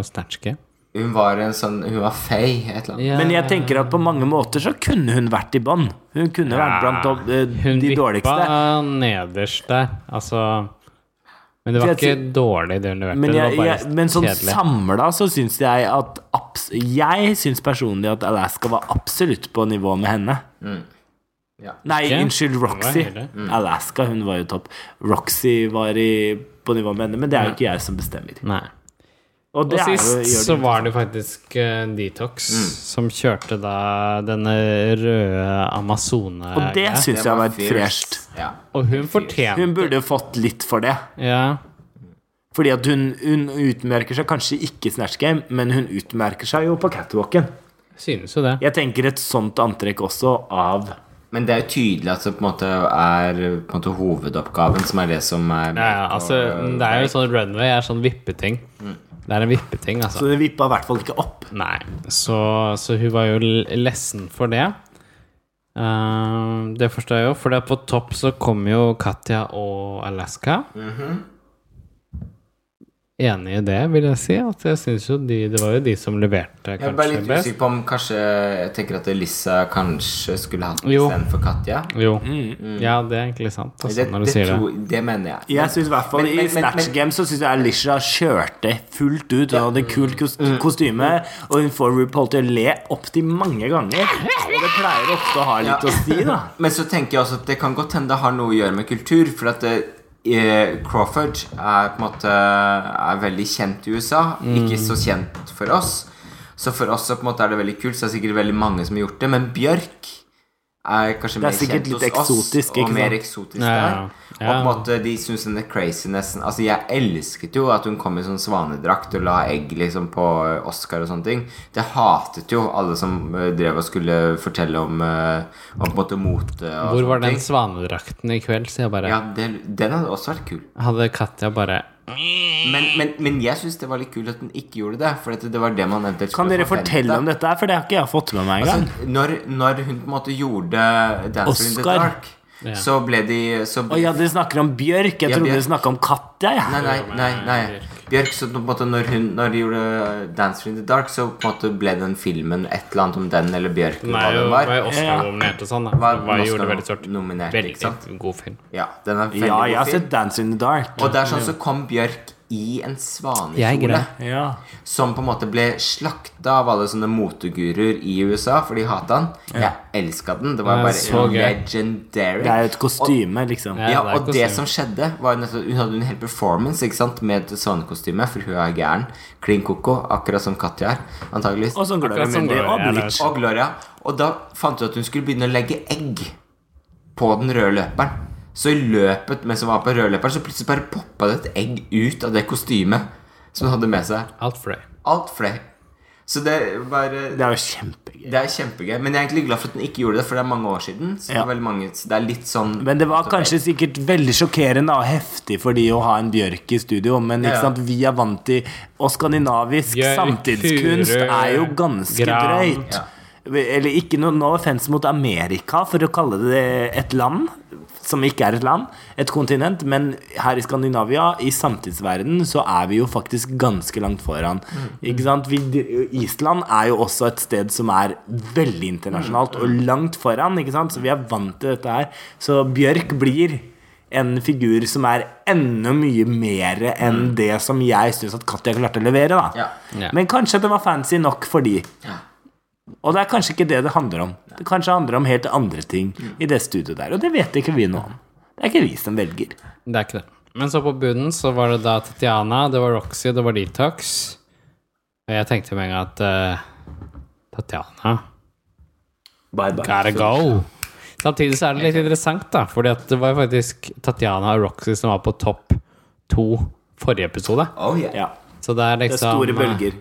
Snatch Game? Hun var en sånn Hun var fei, et eller annet. Men jeg tenker at på mange måter så kunne hun vært i bånn. Hun kunne vært blant de, eh, Hun de dårligste. vippa nederst der, altså Men det var Jeg ikke sy- dårlig, det hun leverte. Men, det jeg, var bare jeg, men sånn kjedelig. samla så syns jeg at abs Jeg syns personlig at Alaska var absolutt på nivå med henne. Ja. Nei, Ikke? unnskyld, Roxy. Hun var Mm. høyere. Alaska, hun var jo topp. Roxy var i, på nivå med henne, men det er jo ikke jeg som bestemmer. Nei. Og, det Og er jo- sist gjør det så jo- var det faktisk eh, Detox som kjørte da denne røde amazone og det syns jeg var fresht. Ja. Og hun fortjente Hun burde jo fått litt for det. Ja. Fordi at hun, hun utmerker seg kanskje ikke i Snatch Game, men hun utmerker seg jo på catwalken. Synes jo det. Jeg tenker et sånt antrekk også av Men det er jo tydelig at det på en måte er på en måte, hovedoppgaven som er det som er Ja, ja, altså, det er jo sånn runway er sånn vippeting. Det er en vippeting, altså. Så det vippa i hvert fall ikke opp. Nei, så, så hun var jo l- lessen for det. Eh, det forstår jeg jo, for der på topp så kommer jo Katja og Alaska. Mhm. Enig i det, vil jeg si. At jeg synes jo de, det var jo de som leverte Jeg er bare kanskje litt best. usikker på om kanskje Jeg tenker at Elissa kanskje skulle hatt den Jo. istedenfor Katja. Jo. Ja, det er egentlig sant, altså, Mm. Det, når du det, sier det. tror- det mener jeg. Jeg synes i hvert fall Men- men- I men- Snatch men- Game så syns jeg Alicia kjørte fullt ut. Hun hadde kult kos- Mm. kostyme, og hun får RuPaul til å le opptil mange ganger. Og det pleier ofte å ha litt Ja. å si, da. Men så tenker jeg også at det kan godt hende det har noe å gjøre med kultur. For at eh, Crawford er på en måte Er veldig kjent i USA, Mm. ikke så kjent for oss. Så for oss så på en måte er det veldig kult, så det er sikkert veldig mange som har gjort det. Men Bjørk er kanskje mer sikkert kjent hos litt eksotisk, oss, ikke og mer sant? eksotisk Ja, ja, der. ja. Og på en måte eh, de syns den er crazy nesten Altså Jeg elsket jo at hun kom i sånn svanedrakt og la egg liksom på Oscar og sånne ting. Det hatet jo alle som eh, drev og skulle fortelle om, eh, om på en måte mote og Hvor var sånne den ting. svanedrakten i kveld, sier jeg bare. Ja, det, den hadde også vært kul. Hadde Katja bare Men, men, men jeg syns det var litt kult at den ikke gjorde det. For at det var det man eventuelt Kan dere fortelle om det? dette? her? For det har ikke jeg fått med meg engang. Når, når hun på en måte gjorde Dancer in the Oscar. Dark, Ja. så ble de så Å ja, dere snakker om Bjørk. Jeg Altså, Ja, trodde Bjørk. dere snakka om Katja. jeg. eh, Nei, nei, nei, nei. Bjørk, så på en måte når hun når de gjorde Dance in the Dark, så på en måte ble den filmen et eller annet om den eller Bjørk. eller Den hva er jo den var var. jo Oscar-nominert og sånn. da Var Den var, Oscar gjorde det veldig stort. nominert, ikke Veldig sant? god film. Ja, den er veldig Ja, jeg har god sett film. Dance in the Dark. Og det er sånn så kom Bjørk i en Jeg svanekjole. greier. Ja. Som på en måte ble slakta av alle sånne moteguruer i USA, for de hata han. Jeg elska den. Det var Ja, bare så gøy. legendary. Det er jo et kostyme, liksom. Ja, Ja, det er og det som kostyme. skjedde var jo nettopp, Hun hadde en hel performance ikke sant? med et svanekostyme, for hun er gæren. Klin koko, akkurat som Katja er. Antageligvis. Og sånn Gloria Akkurat som Mundi Gloria, og ja, det er Bleach. Og Gloria. Og da fant hun at hun skulle begynne å legge egg på den røde løperen. Så i løpet mens hun var på røde løperen, så plutselig bare poppa det et egg ut av det kostymet som hun hadde med seg. Alt for det. Alt fløy. Så det var Det er jo kjempegøy. det er kjempegøy, men jeg er egentlig glad for at den ikke gjorde det, for det er mange år siden. Så det, Ja. er veldig mange, så det er litt sånn Mm. Men det var kanskje sikkert veldig sjokkerende og heftig for de å ha en Bjørk i studio, men Ja, ja. ikke sant, vi er vant til Og skandinavisk Bjørk, samtidskunst Kure, er jo ganske Gran. drøyt. Ja. Eller ikke noe no offense mot Amerika, for å kalle det et land som ikke er et land, et kontinent, men her i Skandinavia, i samtidsverden, så er vi jo faktisk ganske langt foran. Ikke sant? Vi, Island er jo også et sted som er veldig internasjonalt og langt foran, ikke sant? så vi er vant til dette her. Så Bjørk blir en figur som er enda mye mer enn det som jeg syns at Katja klarte å levere. Da. Ja. Ja. Men kanskje det var fancy nok for de. Ja. Og det er kanskje ikke det det handler om. Det kanskje handler om helt andre ting Mm. i det studioet der. Og det vet ikke vi noe om. Det er ikke vi som velger. Det er ikke det. Men så på bunnen så var det da Tatiana, det var Roxy, det var Detox. Og jeg tenkte med en gang at eh, Tatiana Bye bye. gotta go. Samtidig så er det litt interessant, da. Fordi at det var faktisk Tatiana og Roxy som var på topp to forrige episode. Oh, yeah. Ja. Så det er Det er liksom store bølger.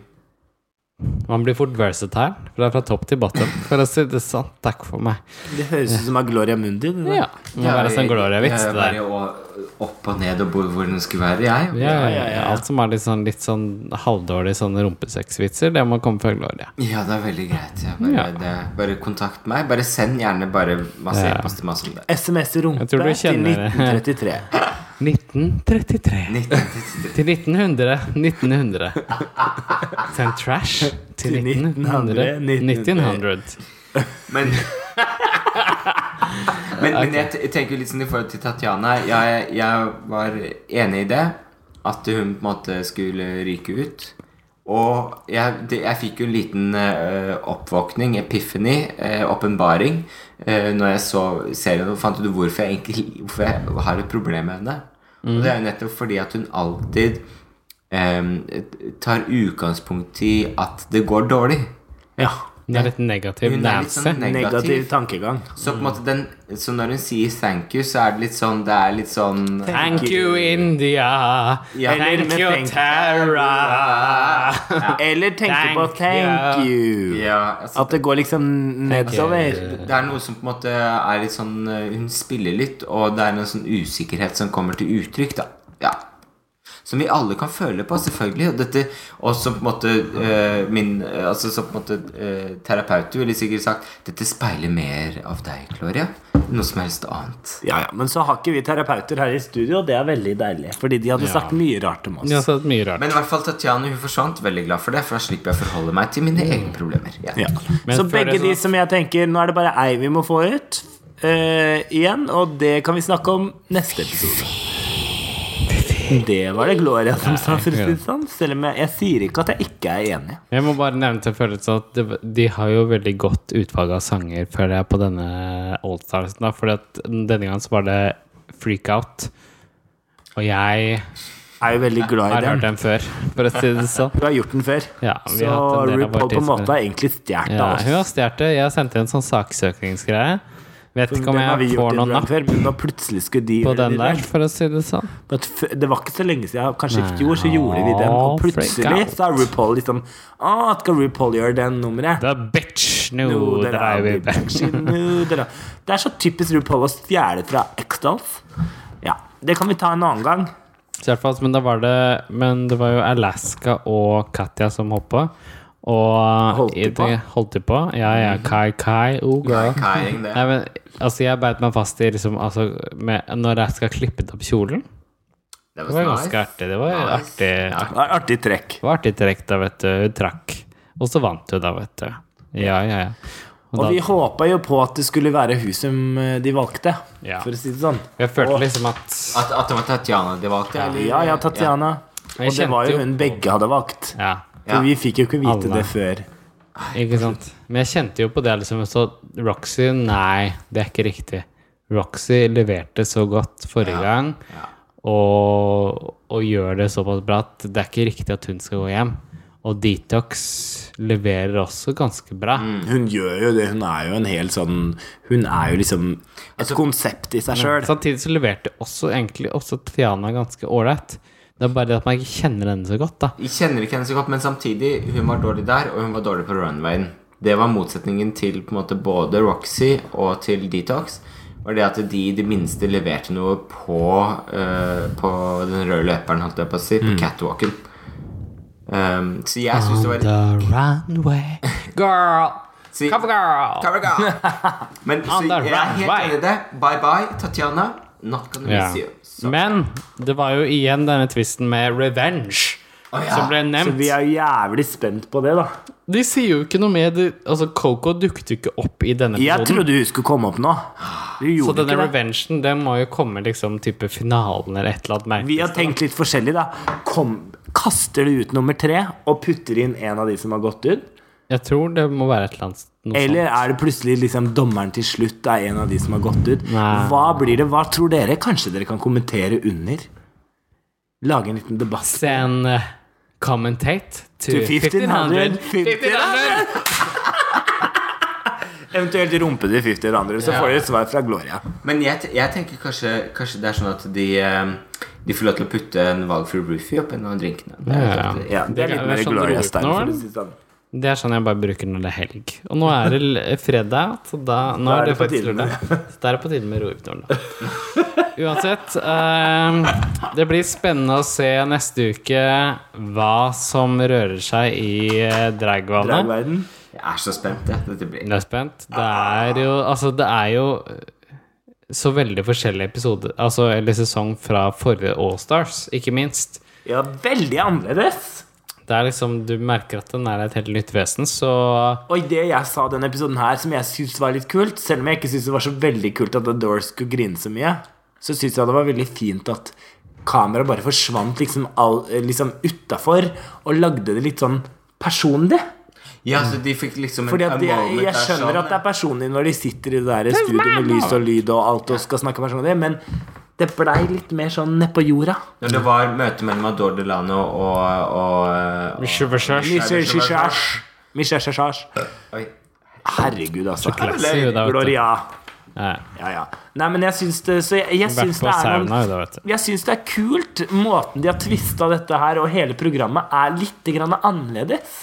Man blir fort versatile. For det er fra topp til bottom. For å si det sånn. Takk for meg. Det høres ut som av Gloria Mundi. det der. Ja. Det må være sånn Gloria-vits, det der. Jeg var jo opp og ned og hvor hvor den skulle være, jeg. Ja, ja, ja, ja. ja. Alt som er litt sånn, litt sånn halvdårlig sånn rumpesexvitser, det må komme fra Gloria. Ja, det er veldig greit. Jeg bare, Ja. det, bare kontakt meg. Bare send gjerne bare masse Ja. e-post til meg som det. SMS i rumpe Jeg tror du til kjenner det. 1933. 1933 1933. til 1900. 1900. Send trash til Til 1900. 1900. 1900. Men Men, men jeg te- jeg tenker litt sånn i forhold til Tatjana. Jeg, jeg var enig i det. At hun på en måte skulle ryke ut. Og jeg, det, jeg fikk jo en liten eh, oppvåkning, epiphany, eh, åpenbaring, eh, når jeg så serien og fant ut hvorfor jeg, egentlig, hvorfor jeg har et problem med henne. Og det er jo nettopp fordi at hun alltid eh, tar utgangspunkt i at det går dårlig. Ja. Hun er litt negativ. Hun er litt Nancy. sånn negativ. Negativ tankegang. Så på en måte den, så når hun sier thank you, så er det litt sånn Det er litt sånn Thank you, India. Ja. Thank you, Tara. Eller tenke på Thank thank you. Ja, altså, At det går liksom nedover. det er noe som på en måte er litt sånn eh, Hun spiller litt, og det er en sånn usikkerhet som kommer til uttrykk, da. Ja. Som vi alle kan føle på, selvfølgelig. Og dette, og som på en måte eh, min eh, Altså som på en måte eh, terapeut ville sikkert sagt Dette speiler mer av deg, Gloria. enn Noe som helst annet. Ja, ja, Men så har ikke vi terapeuter her i studio, og det er veldig deilig. Fordi de hadde sagt mye rart om oss. Hun har sagt mye rart. Men i hvert fall Tatjana hun forsvant. Veldig glad for det, for da slipper jeg å forholde meg til mine egne problemer. Ja. Ja. Men Så før begge det så- de som jeg tenker Nå er det bare ei vi må få ut eh, igjen, og det kan vi snakke om neste episode. Det var det Gloria som sa, for å si det sånn. Selv om jeg, jeg sier ikke at jeg ikke er enig. Jeg må bare nevne til følelse at det, de har jo veldig godt utvalg av sanger, føler jeg, på denne Allstarsen. da, fordi at denne gangen så var det Freak Out. Og jeg Jeg er jo veldig glad i har hørt den. den før, for å si det sånn. Du har gjort den før. Ja, vi Så har hatt en del av vår RuPaul på en tidsmere. måte har egentlig stjålet Ja, hun av oss. har stjålet det. Jeg sendte en sånn saksøkningsgreie. Vet ikke om Den har vi jeg gjort får en noen gang napp før, men nå plutselig skulle de på gjøre den det der, der. for å si det sånn. Men at f- det var ikke så lenge siden. Kanskje i Nei, fjor så gjorde vi den, og å, freak plutselig out. så er RuPaul liksom Å, skal RuPaul gjøre den nummeret? The bitch, nå No, dere dreier vi aldri back. backseat. No, dere- Det er så typisk RuPaul å stjele fra X-Dolls. Ja, det kan vi ta en annen gang. Så i hvert fall, men da var det Men det var jo Alaska og Katja som hoppa. Og Holdt de på? Holdt de på? Ja, ja. Kai, Kai. Oh, girl. Kaiing, det. Nei, men altså, jeg beit meg fast i liksom altså, med, Når jeg skal klippe opp kjolen Det Det var ganske artig. Det var Nice. artig, Det var Artig trekk. det var artig trekk, da, vet du. Hun trakk. Og så vant hun, da, vet du. Ja, ja, ja. Og Og da, vi håpa jo på at det skulle være hun som eh, de valgte, Ja. for å si det sånn. jeg følte liksom at At, at det var Tatjana de valgte? eller? Ja, ja, Tatiana. Jeg Og det var kjente jo jo- hun begge hadde valgt. Ja, Ja. For vi fikk jo ikke vite Alle. det før. ikke sant. Men jeg kjente jo på det, liksom. Så Roxy, nei, det er ikke riktig. Roxy leverte så godt forrige gang, og, og gjør det såpass bra at det er ikke riktig at hun skal gå hjem. Og Detox leverer også ganske bra. Hun gjør jo det. Hun er jo en hel sånn Hun er jo liksom et konsept i seg sjøl. Samtidig så leverte også egentlig også Tiana ganske ålreit. Det er bare det at man ikke kjenner henne så godt, da. Jeg kjenner ikke henne så godt, men samtidig, hun var dårlig der, og hun var dårlig på runwayen. Det var motsetningen til på en måte både Roxy og til Detox. Var det at de i det minste leverte noe på, eh, på den røde løperen, holdt jeg på å si, Mm. på catwalken. Ehm, så jeg syns det var The runway Girl! Si- Cover girl! Cover girl! Men så On the jeg er helt runway. enig i det. Bye bye, Tatjana. Not gonna Ja. miss you. Så- Men det var jo igjen denne tvisten med revenge Å, ja. som ble Så nevnt. vi er jo jævlig spent på det, da. De sier jo ikke noe mer. De, altså, Coco dukket jo ikke opp i denne Jeg episoden. trodde hun skulle komme opp nå. Hun Så gjorde denne ikke det. revengen den må jo komme liksom type finalen eller et eller annet. merkelig. Vi har tenkt litt forskjellig, da. Kom, kaster du ut nummer tre og putter inn en av de som har gått ut? Jeg tror det må være et eller annet noe Eller er det plutselig liksom dommeren til slutt er en av de som har gått ut? Nei. Hva blir det? Hva tror dere? Kanskje dere kan kommentere under? Lage en liten debatt. sånt. Sen eh, commentate to, To 1500. 1500. 1500. Eventuelt rumpe til 50 andre, så får dere et svar fra Gloria. Men jeg, te- jeg tenker kanskje, kanskje det er sånn at de, eh, de får lov til å putte en valgfri Roofy opp i noen av drinkene. Det er Ja, jo ja. sånn at- Ja, det er Det litt er mer sånn Gloria-style. rotenål. for å si det sånn. Det er sånn jeg bare bruker når det er helg. Og nå er det l- fredag, så da nå Da er er det det på faktisk tide med- lørdag. Så da er det på tide med roeptoren, da. Uansett, eh, det blir spennende å se neste uke hva som rører seg i eh, dragvannet. Dragverden. Jeg er så spent, jeg. Dette blir Jeg er spent. Det er jo Altså, det er jo eh, så veldig forskjellige episoder, altså, eller sesong fra forrige Allstars, ikke minst. Ja, veldig annerledes. Det er liksom Du merker at den er et helt nytt vesen, så Og i det jeg sa denne episoden her, som jeg syntes var litt kult, selv om jeg ikke syntes det var så veldig kult at The Doors skulle grine så mye, så syntes jeg det var veldig fint at kameraet bare forsvant liksom, all- eh, liksom utafor og lagde det litt sånn personlig. Ja, så de fikk liksom en- Fordi at a jeg, moment jeg der skjønner sånn, at det er personlig når de sitter i det der studioet med lys og lyd og alt og skal snakke personlig, men det blei litt mer sånn nedpå jorda. Når det var møte mellom Adore Delano og, og, eh, og Sjøversjørs. Misjæsjæsjæsj. Oi. Herregud, altså. Klasser jo, da, vet du. Gloria. Ja. Ja, ja. Nei, men jeg syns det, så jeg, jeg Vært syns på det er sauna, noen, da, vet du. jeg syns det er kult. Måten de har tvista dette her og hele programmet, er litt grann annerledes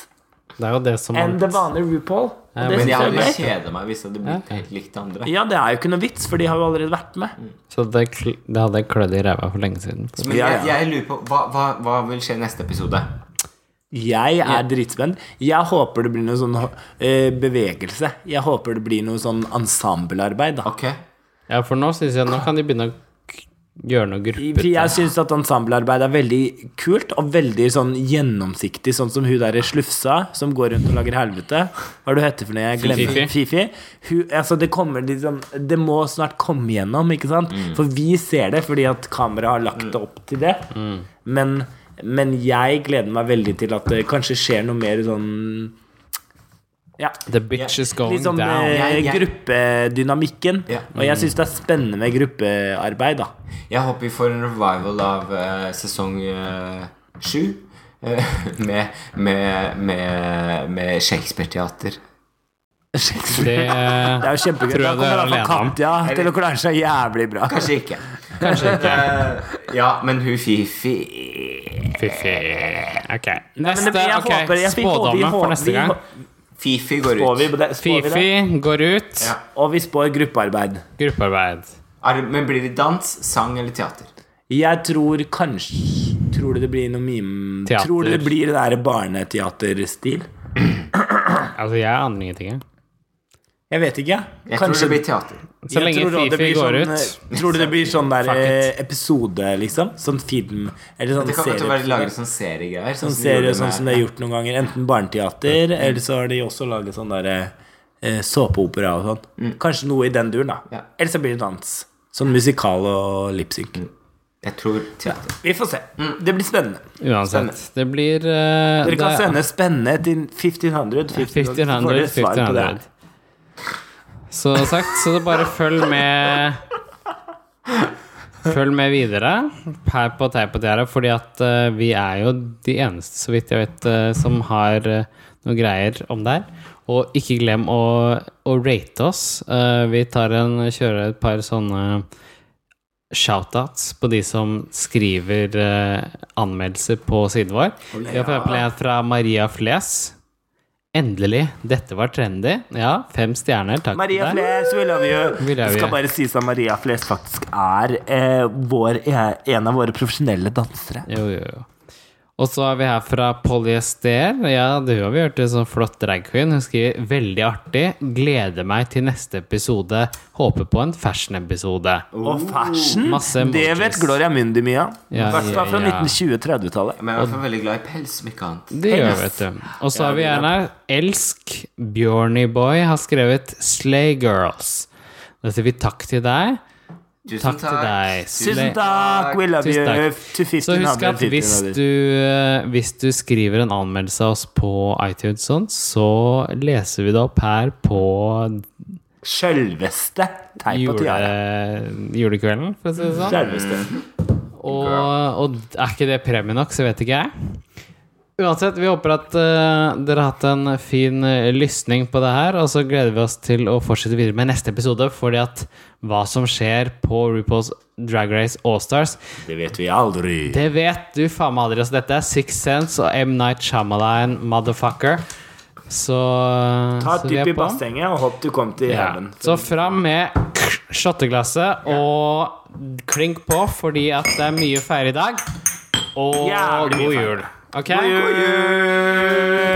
Det er jo det som enn det vanlige RuPaul. Og Ja, det Men synes jeg hadde jeg er greit. kjeda meg hvis det hadde blitt helt likt det andre. Ja, det er jo ikke noe vits, for de har jo allerede vært med. Så det, kl- det hadde klødd i ræva for lenge siden. Men Ja, jeg, ja. jeg lurer på hva, hva, hva vil skje i neste episode? Jeg er dritspent. Jeg håper det blir noe sånn eh, bevegelse. Jeg håper det blir noe sånn ensemblearbeid, da. Ok. Ja, for nå synes jeg Nå kan de begynne å k- gjøre noe For grupper. jeg syns at ensemblearbeid er veldig kult og veldig sånn gjennomsiktig, sånn som hun der slufsa som går rundt og lager helvete. Hva er det hun heter for noe? Jeg glemmer Fifi. Fifi. Hun, altså det, kommer litt sånn- det må snart komme gjennom, ikke sant? Mm. For vi ser det fordi at kameraet har lagt det opp til det. Mm. Men, men jeg gleder meg veldig til at det kanskje skjer noe mer sånn ja. The bitch is going Litt sånn down. eh, Jeg- jeg- gruppedynamikken. Ja. Og jeg syns det er spennende med gruppearbeid, da. Jeg håper vi får en revival av eh, sesong eh, sju. eh, med med, med, med Shakespeare-teater. Det, Det er jo kjempegøy. Da Tror jeg det er kommer iallfall alene om. Katja til å klare seg jævlig bra. Kanskje ikke. Kanskje ikke. Eh, ja, men hun Fifi Fiffi. Ok. Nei, men det- Neste. jeg ok, håper- jeg- vi håper- vi Spådommen håper- for neste gang. vi hå- Fifi går Spår vi ut. på det? Spår vi det? Fifi går ut. Ja. Og vi spår gruppearbeid. Gruppearbeid. Er, det- men blir det dans, sang eller teater? Jeg tror kanskje Tror du det blir noe mime Teater. Tror du det blir det der barneteaterstil? Altså, jeg aner ingenting. jeg. Jeg vet ikke. Jeg tror det blir teater. Så Jeg lenge tror også det Fifi blir går sånn, ut. eh, Tror du det blir sånn der Fuck it. eh, episode, liksom? Sånn film eller sånn Det kan godt være serie. laget sånn seriegreier. Sånn som de serie gjorde sånn med- som det er gjort noen ganger. Enten barneteater, eller så har de også laget sånn der eh, såpeopera og sånn. Mm. Kanskje noe i den duren, da. Ja. Eller så blir det dans. Sånn musikal og lipsync. Mm. Jeg tror teater. Vi får se. Det blir spennende. Uansett. Det blir eh, Dere kan Mm. det- sende spennende til 1500. 1500, så får dere svar på det 1500. her. Så sagt, så det bare følg med Følg med videre her på Teip og Tiara, fordi at eh, vi er jo de eneste, så vidt jeg vet, eh, som har eh, noe greier om det her. Og ikke glem å, å rate oss. Eh, vi tar en, kjører et par sånne shoutouts på de som skriver eh, anmeldelser på siden vår. Vi har for eksempel en fra Maria Fles. Endelig! Dette var trendy. Ja, fem stjerner. Takk Maria til deg. Fles, we love you. We love Det skal you. bare sies at Maria Fles faktisk er eh, vår, eh, en av våre profesjonelle dansere. Jo, jo, jo. Og så er vi her fra Polyester. Ja, det har vi hørt. En sånn flott drag queen. Hun skriver 'veldig artig'. 'Gleder meg til neste episode'. 'Håper på en fashion-episode'. Og fashion! Masse det emojis. vet Gloria Mundi mye av. I Ja, hvert fall fra ja, ja. 1920-30-tallet. Men jeg er i hvert fall veldig glad i pels, om ikke annet. Det gjør, vet du. Og så har vi en her. Elsk Bjørnyboy har skrevet 'Slay Girls'. Da sier vi takk til deg. Tusen Takk til deg. Tusen takk! Eh, We love Tusen you! takk. To Så 1500, husk at hvis 1500. du, eh, hvis du skriver en anmeldelse av oss på iTunes, sånn, så leser vi det opp her på Sjølveste teip og tiara. jule, julekvelden, for å si det sånn. Sjølveste. Og, og er ikke det premie nok, så vet ikke jeg. Uansett, vi håper at eh, dere har hatt en fin eh, lysning på det her, og så gleder vi oss til å fortsette videre med neste episode, fordi at hva som skjer på RuPaul's Drag Race Allstars, Det vet vi aldri. det vet du faen meg aldri. Altså, dette er Six Sense og M. Night Shyamalan, motherfucker. Så, Ta så et vi er dypp i på. bassenget og håp du kom til hevnen. Så fram med shotteglasset og klink på, fordi at det er mye å feire i dag. Og Jævlig mye god å feire. jul. Ok? God jul!